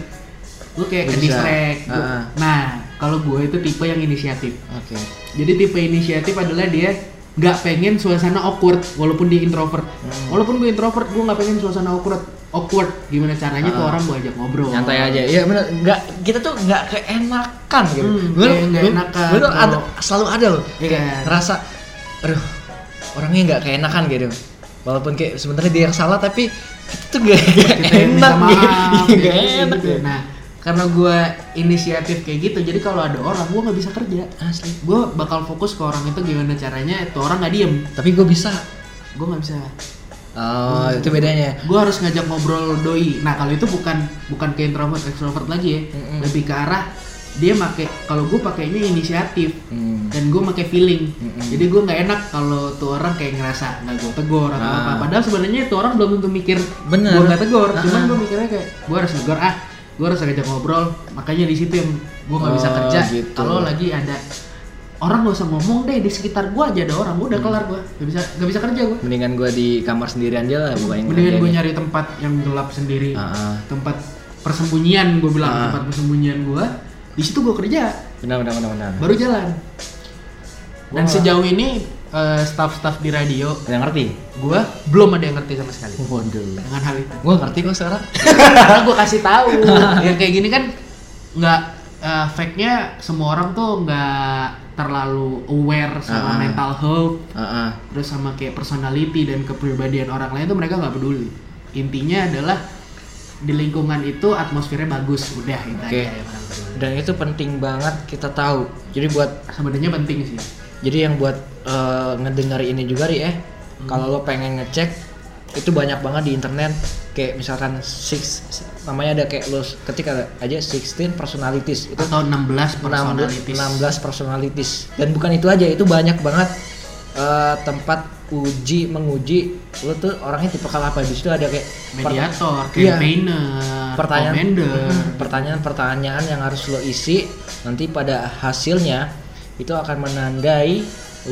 B: gue kayak
A: Lu
B: ke
A: bisa.
B: distract Gua-
A: Ah, ah.
B: nah kalau gue itu tipe yang inisiatif
A: Oke.
B: Jadi tipe inisiatif adalah dia nggak pengen suasana awkward walaupun dia introvert.
A: Hmm.
B: Walaupun gue introvert, gue nggak pengen suasana awkward. Awkward gimana caranya tuh orang gue ajak ngobrol.
A: Ah. nyantai aja iya benar nggak kita tuh nggak keenakan gitu
B: Hmm,
A: Gua-
B: kayak nggak
A: gua-
B: enakan
A: gua tuh
B: kalau-
A: ada, selalu ada loh
B: Iya
A: kayak
B: kan?
A: ngerasa aduh orangnya nggak keenakan gitu walaupun kayak sebenarnya dia yang salah tapi kita tuh gak, gak
B: Kita yang minta
A: (laughs) enak gitu
B: maaf.
A: Iya,
B: gitu
A: nggak
B: sih,
A: enak
B: gitu.
A: gitu.
B: Nah, karena gue inisiatif kayak gitu, jadi kalau ada orang gue nggak bisa kerja.
A: asli
B: Gue bakal fokus ke orang itu gimana caranya tuh orang nggak diem.
A: tapi gue bisa
B: Gue nggak bisa.
A: oh
B: Hmm.
A: itu bedanya
B: Gue harus ngajak ngobrol doi. Nah kalau itu bukan bukan ke introvert extrovert lagi ya,
A: Mm-mm.
B: lebih ke arah dia pakai kalau gue pakainya inisiatif.
A: Hmm.
B: dan gue pakai feeling
A: Mm-mm.
B: jadi gue nggak enak kalau tuh orang kayak ngerasa nggak gue tegur atau
A: Ah.
B: apa padahal sebenarnya itu orang belum tentu mikir
A: Bener.
B: gue nggak tegur
A: Ah.
B: cuman gue mikirnya kayak gue harus tegur ah gue harus ngajak ngobrol makanya di situ yang gue nggak bisa
A: Oh,
B: kerja
A: gitu.
B: kalau lagi ada orang gak usah ngomong deh di sekitar gue aja ada orang gua
A: Hmm.
B: udah kelar gue nggak bisa nggak bisa kerja gue
A: mendingan gue di kamar sendirian aja lah bukan yang
B: mendingan gue
A: kerjanya.
B: nyari tempat yang gelap sendiri
A: Ah, ah.
B: tempat persembunyian gue bilang
A: Ah.
B: tempat persembunyian gue di situ gue kerja
A: benar benar benar benar
B: baru jalan. Dan
A: Wah.
B: sejauh ini eh, staff-staff di radio
A: ada yang ngerti
B: gua belum ada yang ngerti sama sekali
A: waduh
B: dengan hal itu.
A: gue ngerti kok sekarang
B: Karena gua kasih tahu. yang kayak gini kan nggak eh, fake-nya semua orang tuh nggak terlalu aware sama
A: Ah.
B: mental health
A: Heeh.
B: terus sama kayak personality dan kepribadian orang lain tuh mereka nggak peduli. Intinya adalah di lingkungan itu atmosfernya bagus udah ya, itu
A: Oke.
B: aja yang orang peduli.
A: dan itu penting banget kita tahu jadi buat
B: Sebenarnya penting sih.
A: Jadi yang buat eh, ngedengar ini juga ri eh, kalau lo pengen ngecek itu banyak banget di internet kayak misalkan six namanya ada kayak lo ketika aja 16 personalities itu
B: Atau 16
A: 16
B: personalities.
A: 16 personalities dan bukan itu aja itu banyak banget eh, tempat uji menguji lo tuh orangnya tipe apa di situ ada kayak per-
B: mediator,
A: Iya.
B: campaigner,
A: pertanyaan
B: commander.
A: (laughs) pertanyaan-pertanyaan yang harus lo isi nanti pada hasilnya itu akan menandai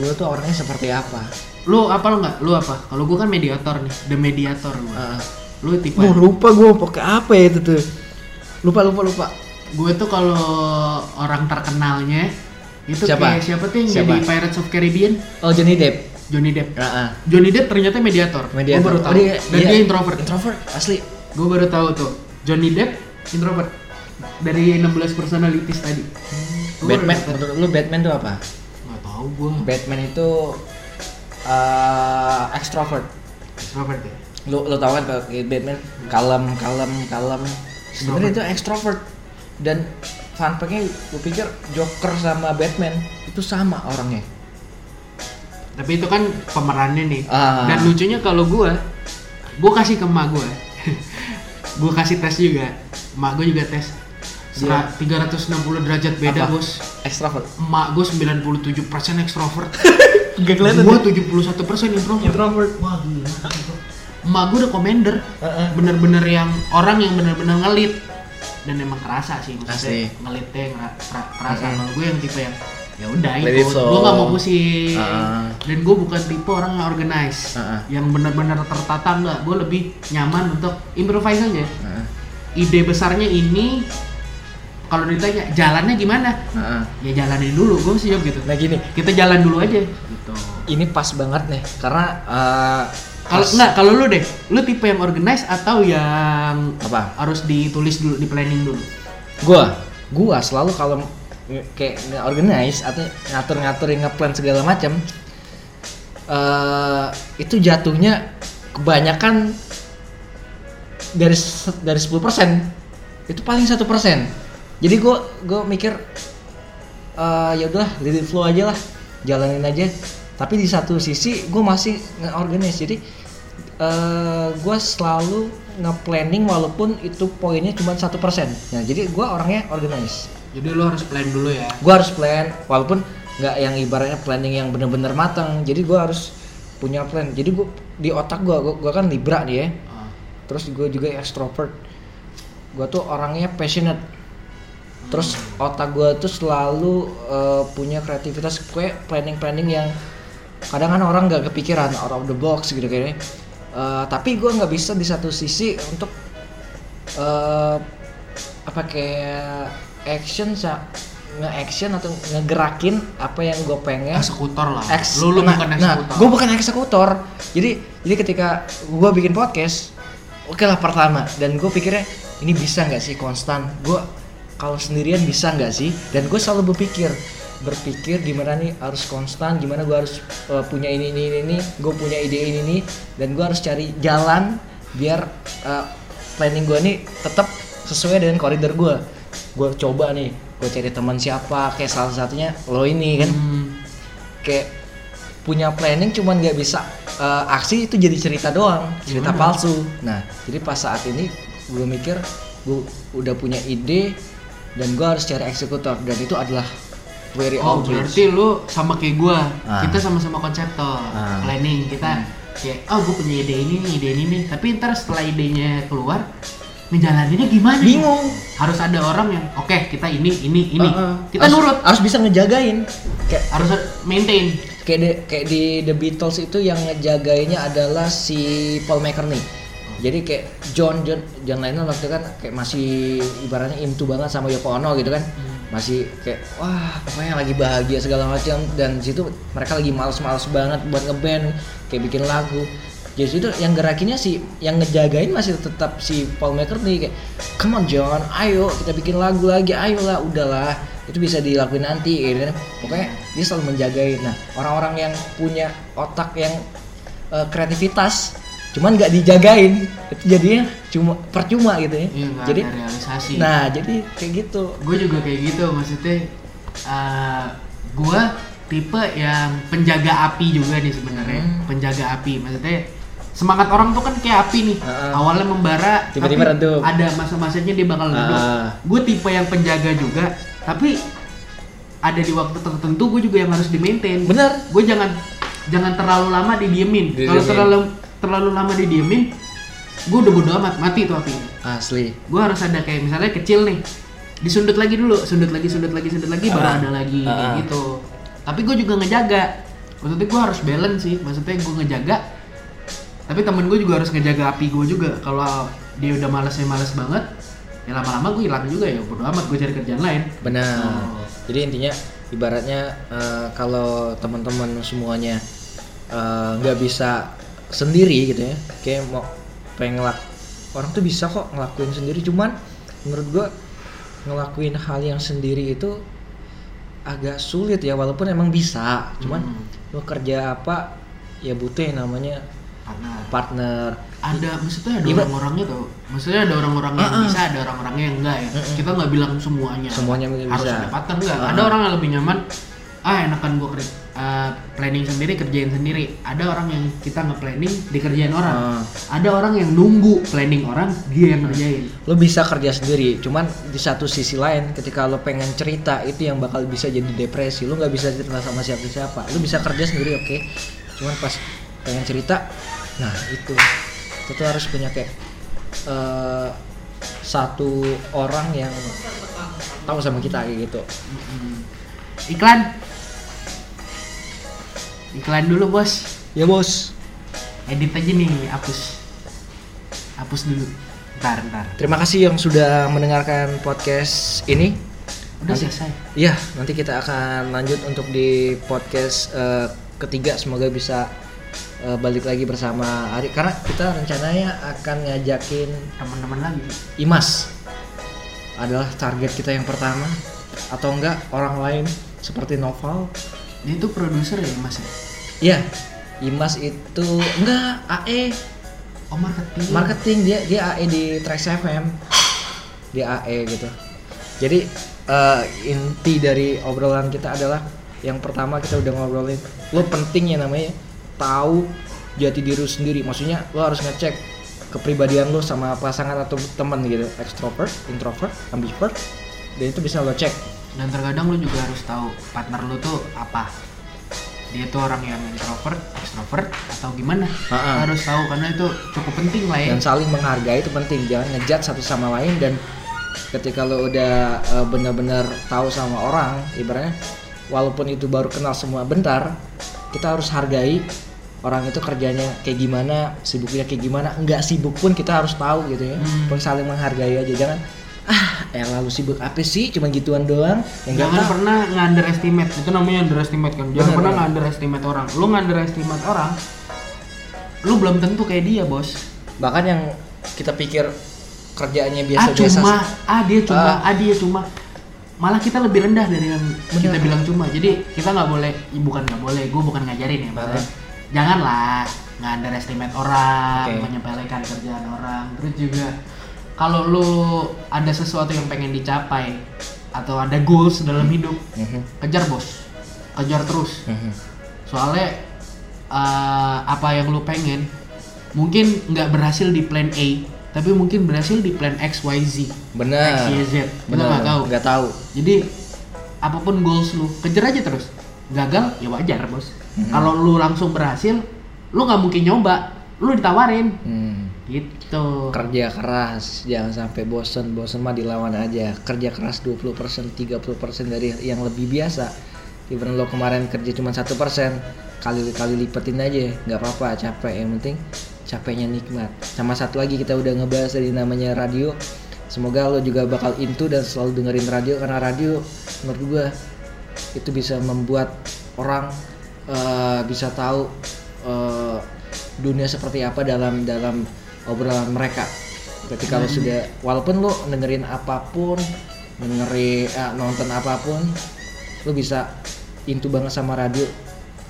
A: lo tuh orangnya seperti apa
B: Lu apa lu nggak? Lu apa? Kalau gua kan mediator nih, the mediator
A: Heeh.
B: gua. Lu tipe
A: Gua lupa gue pakai apa ya itu tuh lupa lupa lupa
B: gue tuh kalau orang terkenalnya itu
A: Siapa?
B: kayak siapa tuh yang
A: Siapa?
B: jadi Pirates of Caribbean?
A: oh Johnny Depp
B: Johnny Depp.
A: Heeh.
B: Johnny Depp ternyata mediator.
A: media
B: Gue baru tahu. Dan
A: iya.
B: dia introvert.
A: introvert asli
B: Gue baru tahu tuh. Johnny Depp introvert. Dari 16 personalities tadi. Gua baru
A: Batman
B: dapet.
A: menurut lu Batman tuh apa
B: Nggak tahu gue.
A: Batman itu eh extrovert
B: Introvert ya.
A: lu lu tahu kan kalau kayak Batman kalem kalem kalem sebenarnya itu extrovert dan fun fact-nya gue pikir Joker sama Batman itu sama orangnya
B: Tapi itu kan pemerannya nih.
A: Ah.
B: Dan lucunya kalau (laughs) gua, gua kasih ke emak gua. gue kasih tes juga mak gue juga tes
A: Dia-
B: Sera- 360 derajat beda
A: Iya. Apa?
B: bos
A: Extrovert.
B: emak gue 97 persen ekstrovert
A: Gak
B: gue 71 persen introvert
A: ya? Introvert.
B: wah gila emak gue udah commander
A: Heeh.
B: bener-bener yang orang yang bener-bener ngelit dan emang kerasa sih
A: Asli.
B: maksudnya ngelitnya yang ra- ra- kerasa
A: Mm-mm.
B: kalau gue yang tipe yang ya udah
A: Let
B: ikut
A: it flow.
B: gue gak mau pusing
A: Ah.
B: dan gue bukan tipe orang yang organize
A: Ah, ah.
B: yang bener-bener tertata nggak gue lebih nyaman untuk improvise aja
A: Heeh.
B: ide besarnya ini kalau ditanya jalannya gimana
A: Heeh.
B: ya jalanin dulu gue siap gitu
A: Nah gini,
B: kita jalan dulu aja gitu
A: ini pas banget nih karena eh,
B: kalau
A: pas-
B: nggak kalau lu deh lu tipe yang organize atau yang
A: apa?
B: harus ditulis dulu di planning dulu
A: Gua, gua selalu kalau nge- kayak nge- organize atau ngatur-ngaturin ngeplan segala macam eh itu jatuhnya kebanyakan dari se- dari 10% itu paling satu persen jadi gua gua mikir eh ya udahlah let it flow aja lah jalanin aja tapi di satu sisi gua masih nge-organize jadi eh gua selalu nge-planning walaupun itu poinnya cuma satu persen nah jadi gua orangnya organize
B: jadi lu harus plan dulu ya
A: gua harus plan walaupun nggak yang ibaratnya planning yang bener-bener matang jadi gua harus punya plan jadi gua di otak gua gua, gua kan libra nih ya
B: Ah,
A: terus gue juga extrovert gue tuh orangnya passionate terus otak gue tuh selalu eh, punya kreativitas gue planning planning yang kadang kan orang nggak kepikiran out of the box gitu kayaknya Eh, tapi gue nggak bisa di satu sisi untuk eh, apa kayak action sa nge action atau ngegerakin apa yang gue pengen
B: eksekutor eh, lah
A: Ex-
B: lu lu
A: nah,
B: bukan
A: nah,
B: eksekutor
A: gue bukan eksekutor. Jadi jadi ketika gue bikin podcast, oke lah pertama. Dan gue pikirnya ini bisa nggak sih konstan? Gue kalau sendirian bisa nggak sih? Dan gue selalu berpikir berpikir gimana nih harus konstan, gimana gue harus uh, punya ini ini ini, ini gue punya ide ini ini, dan gue harus cari jalan biar uh, planning gue nih tetap sesuai dengan koridor gue. Gue coba nih, gue cari teman siapa, kayak salah satunya lo ini kan
B: Hmm,
A: kayak punya planning cuman nggak bisa eh, aksi itu jadi cerita doang cerita
B: Gimana?
A: palsu nah jadi pas saat ini gue mikir gue udah punya ide dan gue harus cari eksekutor dan itu adalah very
B: oh
A: obvious
B: berarti lu sama kayak gua
A: Ah.
B: kita sama-sama konseptor
A: Ah.
B: planning kita kayak oh gue punya ide ini nih ide ini nih tapi ntar setelah idenya keluar ngejalaninnya gimana
A: bingung
B: harus ada orang yang oke kita ini ini ini
A: Uh-uh.
B: kita
A: Harus-
B: nurut
A: harus bisa ngejagain kayak
B: harus maintain
A: kayak di, kayak di The Beatles itu yang ngejagainnya adalah si Paul McCartney. Jadi kayak John John John Lennon waktu itu kan kayak masih ibaratnya into banget sama Yoko Ono gitu kan. Masih kayak wah pokoknya lagi bahagia segala macam dan di situ mereka lagi males-males banget buat ngeband, kayak bikin lagu. Jadi itu yang gerakinnya si yang ngejagain masih tetap si Paul McCartney kayak come on John, ayo kita bikin lagu lagi, ayolah udahlah itu bisa dilakuin nanti gitu kan. Pokoknya dia selalu menjagain. Nah, orang-orang yang punya otak yang eh, kreativitas cuman nggak dijagain itu jadinya cuma percuma gitu ya.
B: Iya, nggak
A: jadi
B: ada realisasi
A: nah, jadi kayak gitu.
B: gue juga kayak gitu maksudnya eh gue tipe yang penjaga api juga nih sebenarnya
A: Hmm.
B: penjaga api maksudnya semangat orang tuh kan kayak api nih
A: Heeh.
B: awalnya membara
A: Tiba-tiba
B: tapi
A: redup.
B: ada masa-masanya dia bakal redup
A: Ah.
B: gue tipe yang penjaga juga tapi ada di waktu tertentu gue juga yang harus di maintain
A: Bener.
B: gue jangan jangan terlalu lama didiemin kalau
A: Didiemin.
B: terlalu terlalu lama didiemin gue udah bodo amat mati tuh apinya
A: Asli.
B: gue harus ada kayak misalnya kecil nih disundut lagi dulu sundut lagi sundut lagi sundut lagi baru
A: Ah.
B: ada lagi
A: Ah,
B: kayak
A: ah.
B: gitu tapi gue juga ngejaga maksudnya gue harus balance sih maksudnya gue ngejaga tapi temen gue juga harus ngejaga api gue juga kalau dia udah malesnya males banget ya lama-lama gue hilang juga ya bodo amat gue cari kerjaan lain
A: Benar.
B: Oh.
A: Jadi intinya ibaratnya eh, kalau teman-teman semuanya eh, nggak bisa sendiri gitu ya, kayak mau pengen ngelak orang tuh bisa kok ngelakuin sendiri, cuman menurut gua ngelakuin hal yang sendiri itu agak sulit ya, walaupun emang bisa, cuman lo kerja apa ya butuh yang namanya
B: karena
A: partner.
B: ada maksudnya ada
A: Iba-
B: orang-orangnya tau maksudnya ada orang-orang yang bisa ada orang-orangnya yang enggak ya kita nggak bilang semuanya
A: Semuanya mungkin
B: harus
A: bisa.
B: ada pattern enggak
A: Ah.
B: ada orang yang lebih nyaman ah enakan gua kerja eh, planning sendiri kerjain sendiri ada orang yang kita nge-planning dikerjain orang
A: Ah.
B: ada orang yang nunggu planning orang dia yang ngerjain
A: lo bisa kerja sendiri cuman di satu sisi lain ketika lo pengen cerita itu yang bakal bisa jadi depresi lo nggak bisa cerita sama siapa siapa lo bisa kerja sendiri oke cuman pas pengen cerita nah itu itu tuh harus punya kayak eh, satu orang yang tahu sama kita kayak gitu
B: iklan iklan dulu bos
A: ya bos
B: edit aja nih hapus hapus dulu ntar ntar
A: terima kasih yang sudah mendengarkan podcast ini
B: udah
A: Nanti-
B: selesai
A: Iya, nanti kita akan lanjut untuk di podcast eh, ketiga. Semoga bisa eh, balik lagi bersama Ari. Karena kita rencananya akan ngajakin
B: teman-teman lagi
A: Imas adalah target kita yang pertama, atau enggak orang lain seperti Noval.
B: dia itu produser ya mas ya
A: Iya, Imas itu enggak E. AE
B: oh marketing
A: marketing dia dia AE di Trax FM dia AE gitu jadi eh, inti dari obrolan kita adalah yang pertama kita udah ngobrolin lo pentingnya namanya tahu jati diri lo sendiri maksudnya lo harus ngecek kepribadian lo sama pasangan atau temen gitu extrovert introvert ambivert dan itu bisa lo cek
B: dan terkadang lu juga harus tahu partner lu tuh apa dia tuh orang yang introvert extrovert atau gimana
A: Ha-ha.
B: harus tahu karena itu cukup penting lah ya
A: dan saling menghargai itu penting jangan ngejat satu sama lain dan ketika lo udah eh, benar-benar tahu sama orang ibaratnya walaupun itu baru kenal semua bentar kita harus hargai orang itu kerjanya kayak gimana sibuknya kayak gimana nggak sibuk pun kita harus tahu gitu ya
B: Hmm.
A: pun saling menghargai aja jangan ah elah lu sibuk apa sih cuman gituan doang yang nggak
B: jangan
A: tahu
B: pernah nge-underestimate itu namanya underestimate kan jangan
A: Bener,
B: pernah
A: bener.
B: nge-underestimate orang lu nge-underestimate orang lu belum tentu kayak dia bos
A: bahkan yang kita pikir kerjaannya
B: ah
A: biasa-biasa
B: cuma ah dia cuma
A: Ah.
B: ah dia cuma malah kita lebih rendah dari yang kita
A: Bener.
B: bilang cuma jadi kita nggak boleh ih, bukan nggak boleh gue bukan ngajarin ya maksudnya janganlah nggak underestimate orang
A: Oke.
B: menyepelekan kerjaan orang terus juga kalau lu ada sesuatu yang pengen dicapai atau ada goals dalam hidup
A: Mhm,
B: kejar bos kejar terus
A: mhm.
B: soalnya eh, apa yang lu pengen mungkin nggak berhasil di plan A tapi mungkin berhasil di plan X Y Z
A: benar
B: X Y Z kita
A: Eh, benar
B: nggak tahu
A: nggak tahu
B: jadi apapun goals lu kejar aja terus gagal ya wajar bos
A: Mm-hmm.
B: kalau lu langsung berhasil lu nggak mungkin nyoba lu ditawarin
A: Hmm.
B: gitu
A: kerja keras jangan sampai bosen bosen mah dilawan aja kerja keras 20% 30% dari yang lebih biasa even lo kemarin kerja cuma satu persen kali kali lipetin aja nggak apa-apa capek yang penting capeknya nikmat sama satu lagi kita udah ngebahas dari namanya radio semoga lo juga bakal into dan selalu dengerin radio karena radio menurut gua itu bisa membuat orang eh, bisa tahu eh, dunia seperti apa dalam dalam obrolan mereka ketika lo sudah walaupun lo dengerin apapun dengerin eh, nonton apapun lo bisa intu banget sama radio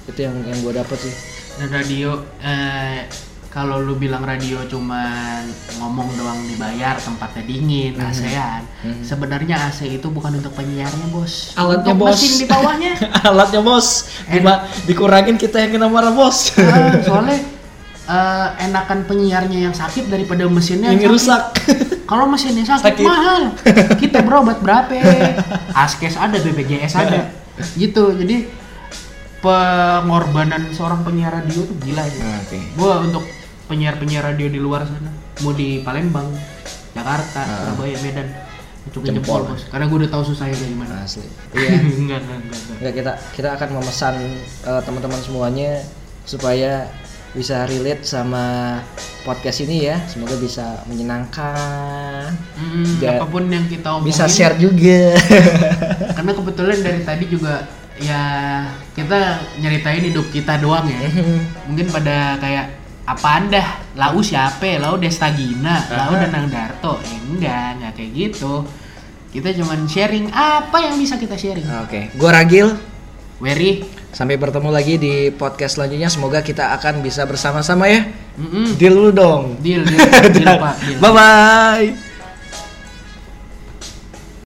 A: itu yang yang gue dapet sih
B: dan radio eh, kalau lu bilang radio cuman ngomong doang dibayar tempatnya dingin ASEAN
A: Mhm.
B: sebenarnya AC itu bukan untuk penyiarnya bos
A: Alatnya,
B: Untuk
A: bos.
B: mesin di
A: (laughs)
B: bawahnya
A: (laughs) alatnya bos Cuma dikurangin kita yang kena marah bos
B: Eh, soalnya eh, enakan penyiarnya yang sakit daripada mesinnya
A: ini
B: yang sakit.
A: rusak (laughs)
B: kalau mesinnya sakit,
A: Sakit. (laughs)
B: mahal kita berobat berapa askes ada BPJS ada gitu jadi pengorbanan seorang penyiar radio tuh gila ya
A: Nah, oke
B: gua untuk penyiar-penyiar radio di luar sana mau di Palembang Jakarta
A: Ah.
B: Surabaya Medan cukup
A: Jempol.
B: jempol bos karena gua udah tahu susahnya kayak gimana (laughs)
A: asli
B: iya
A: iya
B: enggak enggak enggak, enggak.
A: Nggak, kita kita akan memesan eh, teman-teman semuanya supaya bisa relate sama podcast ini ya. Semoga bisa menyenangkan.
B: Hmm,
A: Ja-
B: apapun yang kita omongin
A: Iya. Bisa share juga.
B: karena kebetulan dari tadi juga ya kita nyeritain hidup kita doang
A: (laughs)
B: ya mungkin pada kayak apa anda lau siapa lau destagina lau danang darto Eh, enggak enggak kayak gitu kita cuman sharing apa yang bisa kita sharing
A: (laughs) Oke, gua Ragil.
B: Wery
A: Sampai bertemu lagi di podcast selanjutnya. Semoga kita akan bisa bersama-sama ya.
B: mm
A: Deal lu dong.
B: deal deal, deal, Pak, deal.
A: Bye bye.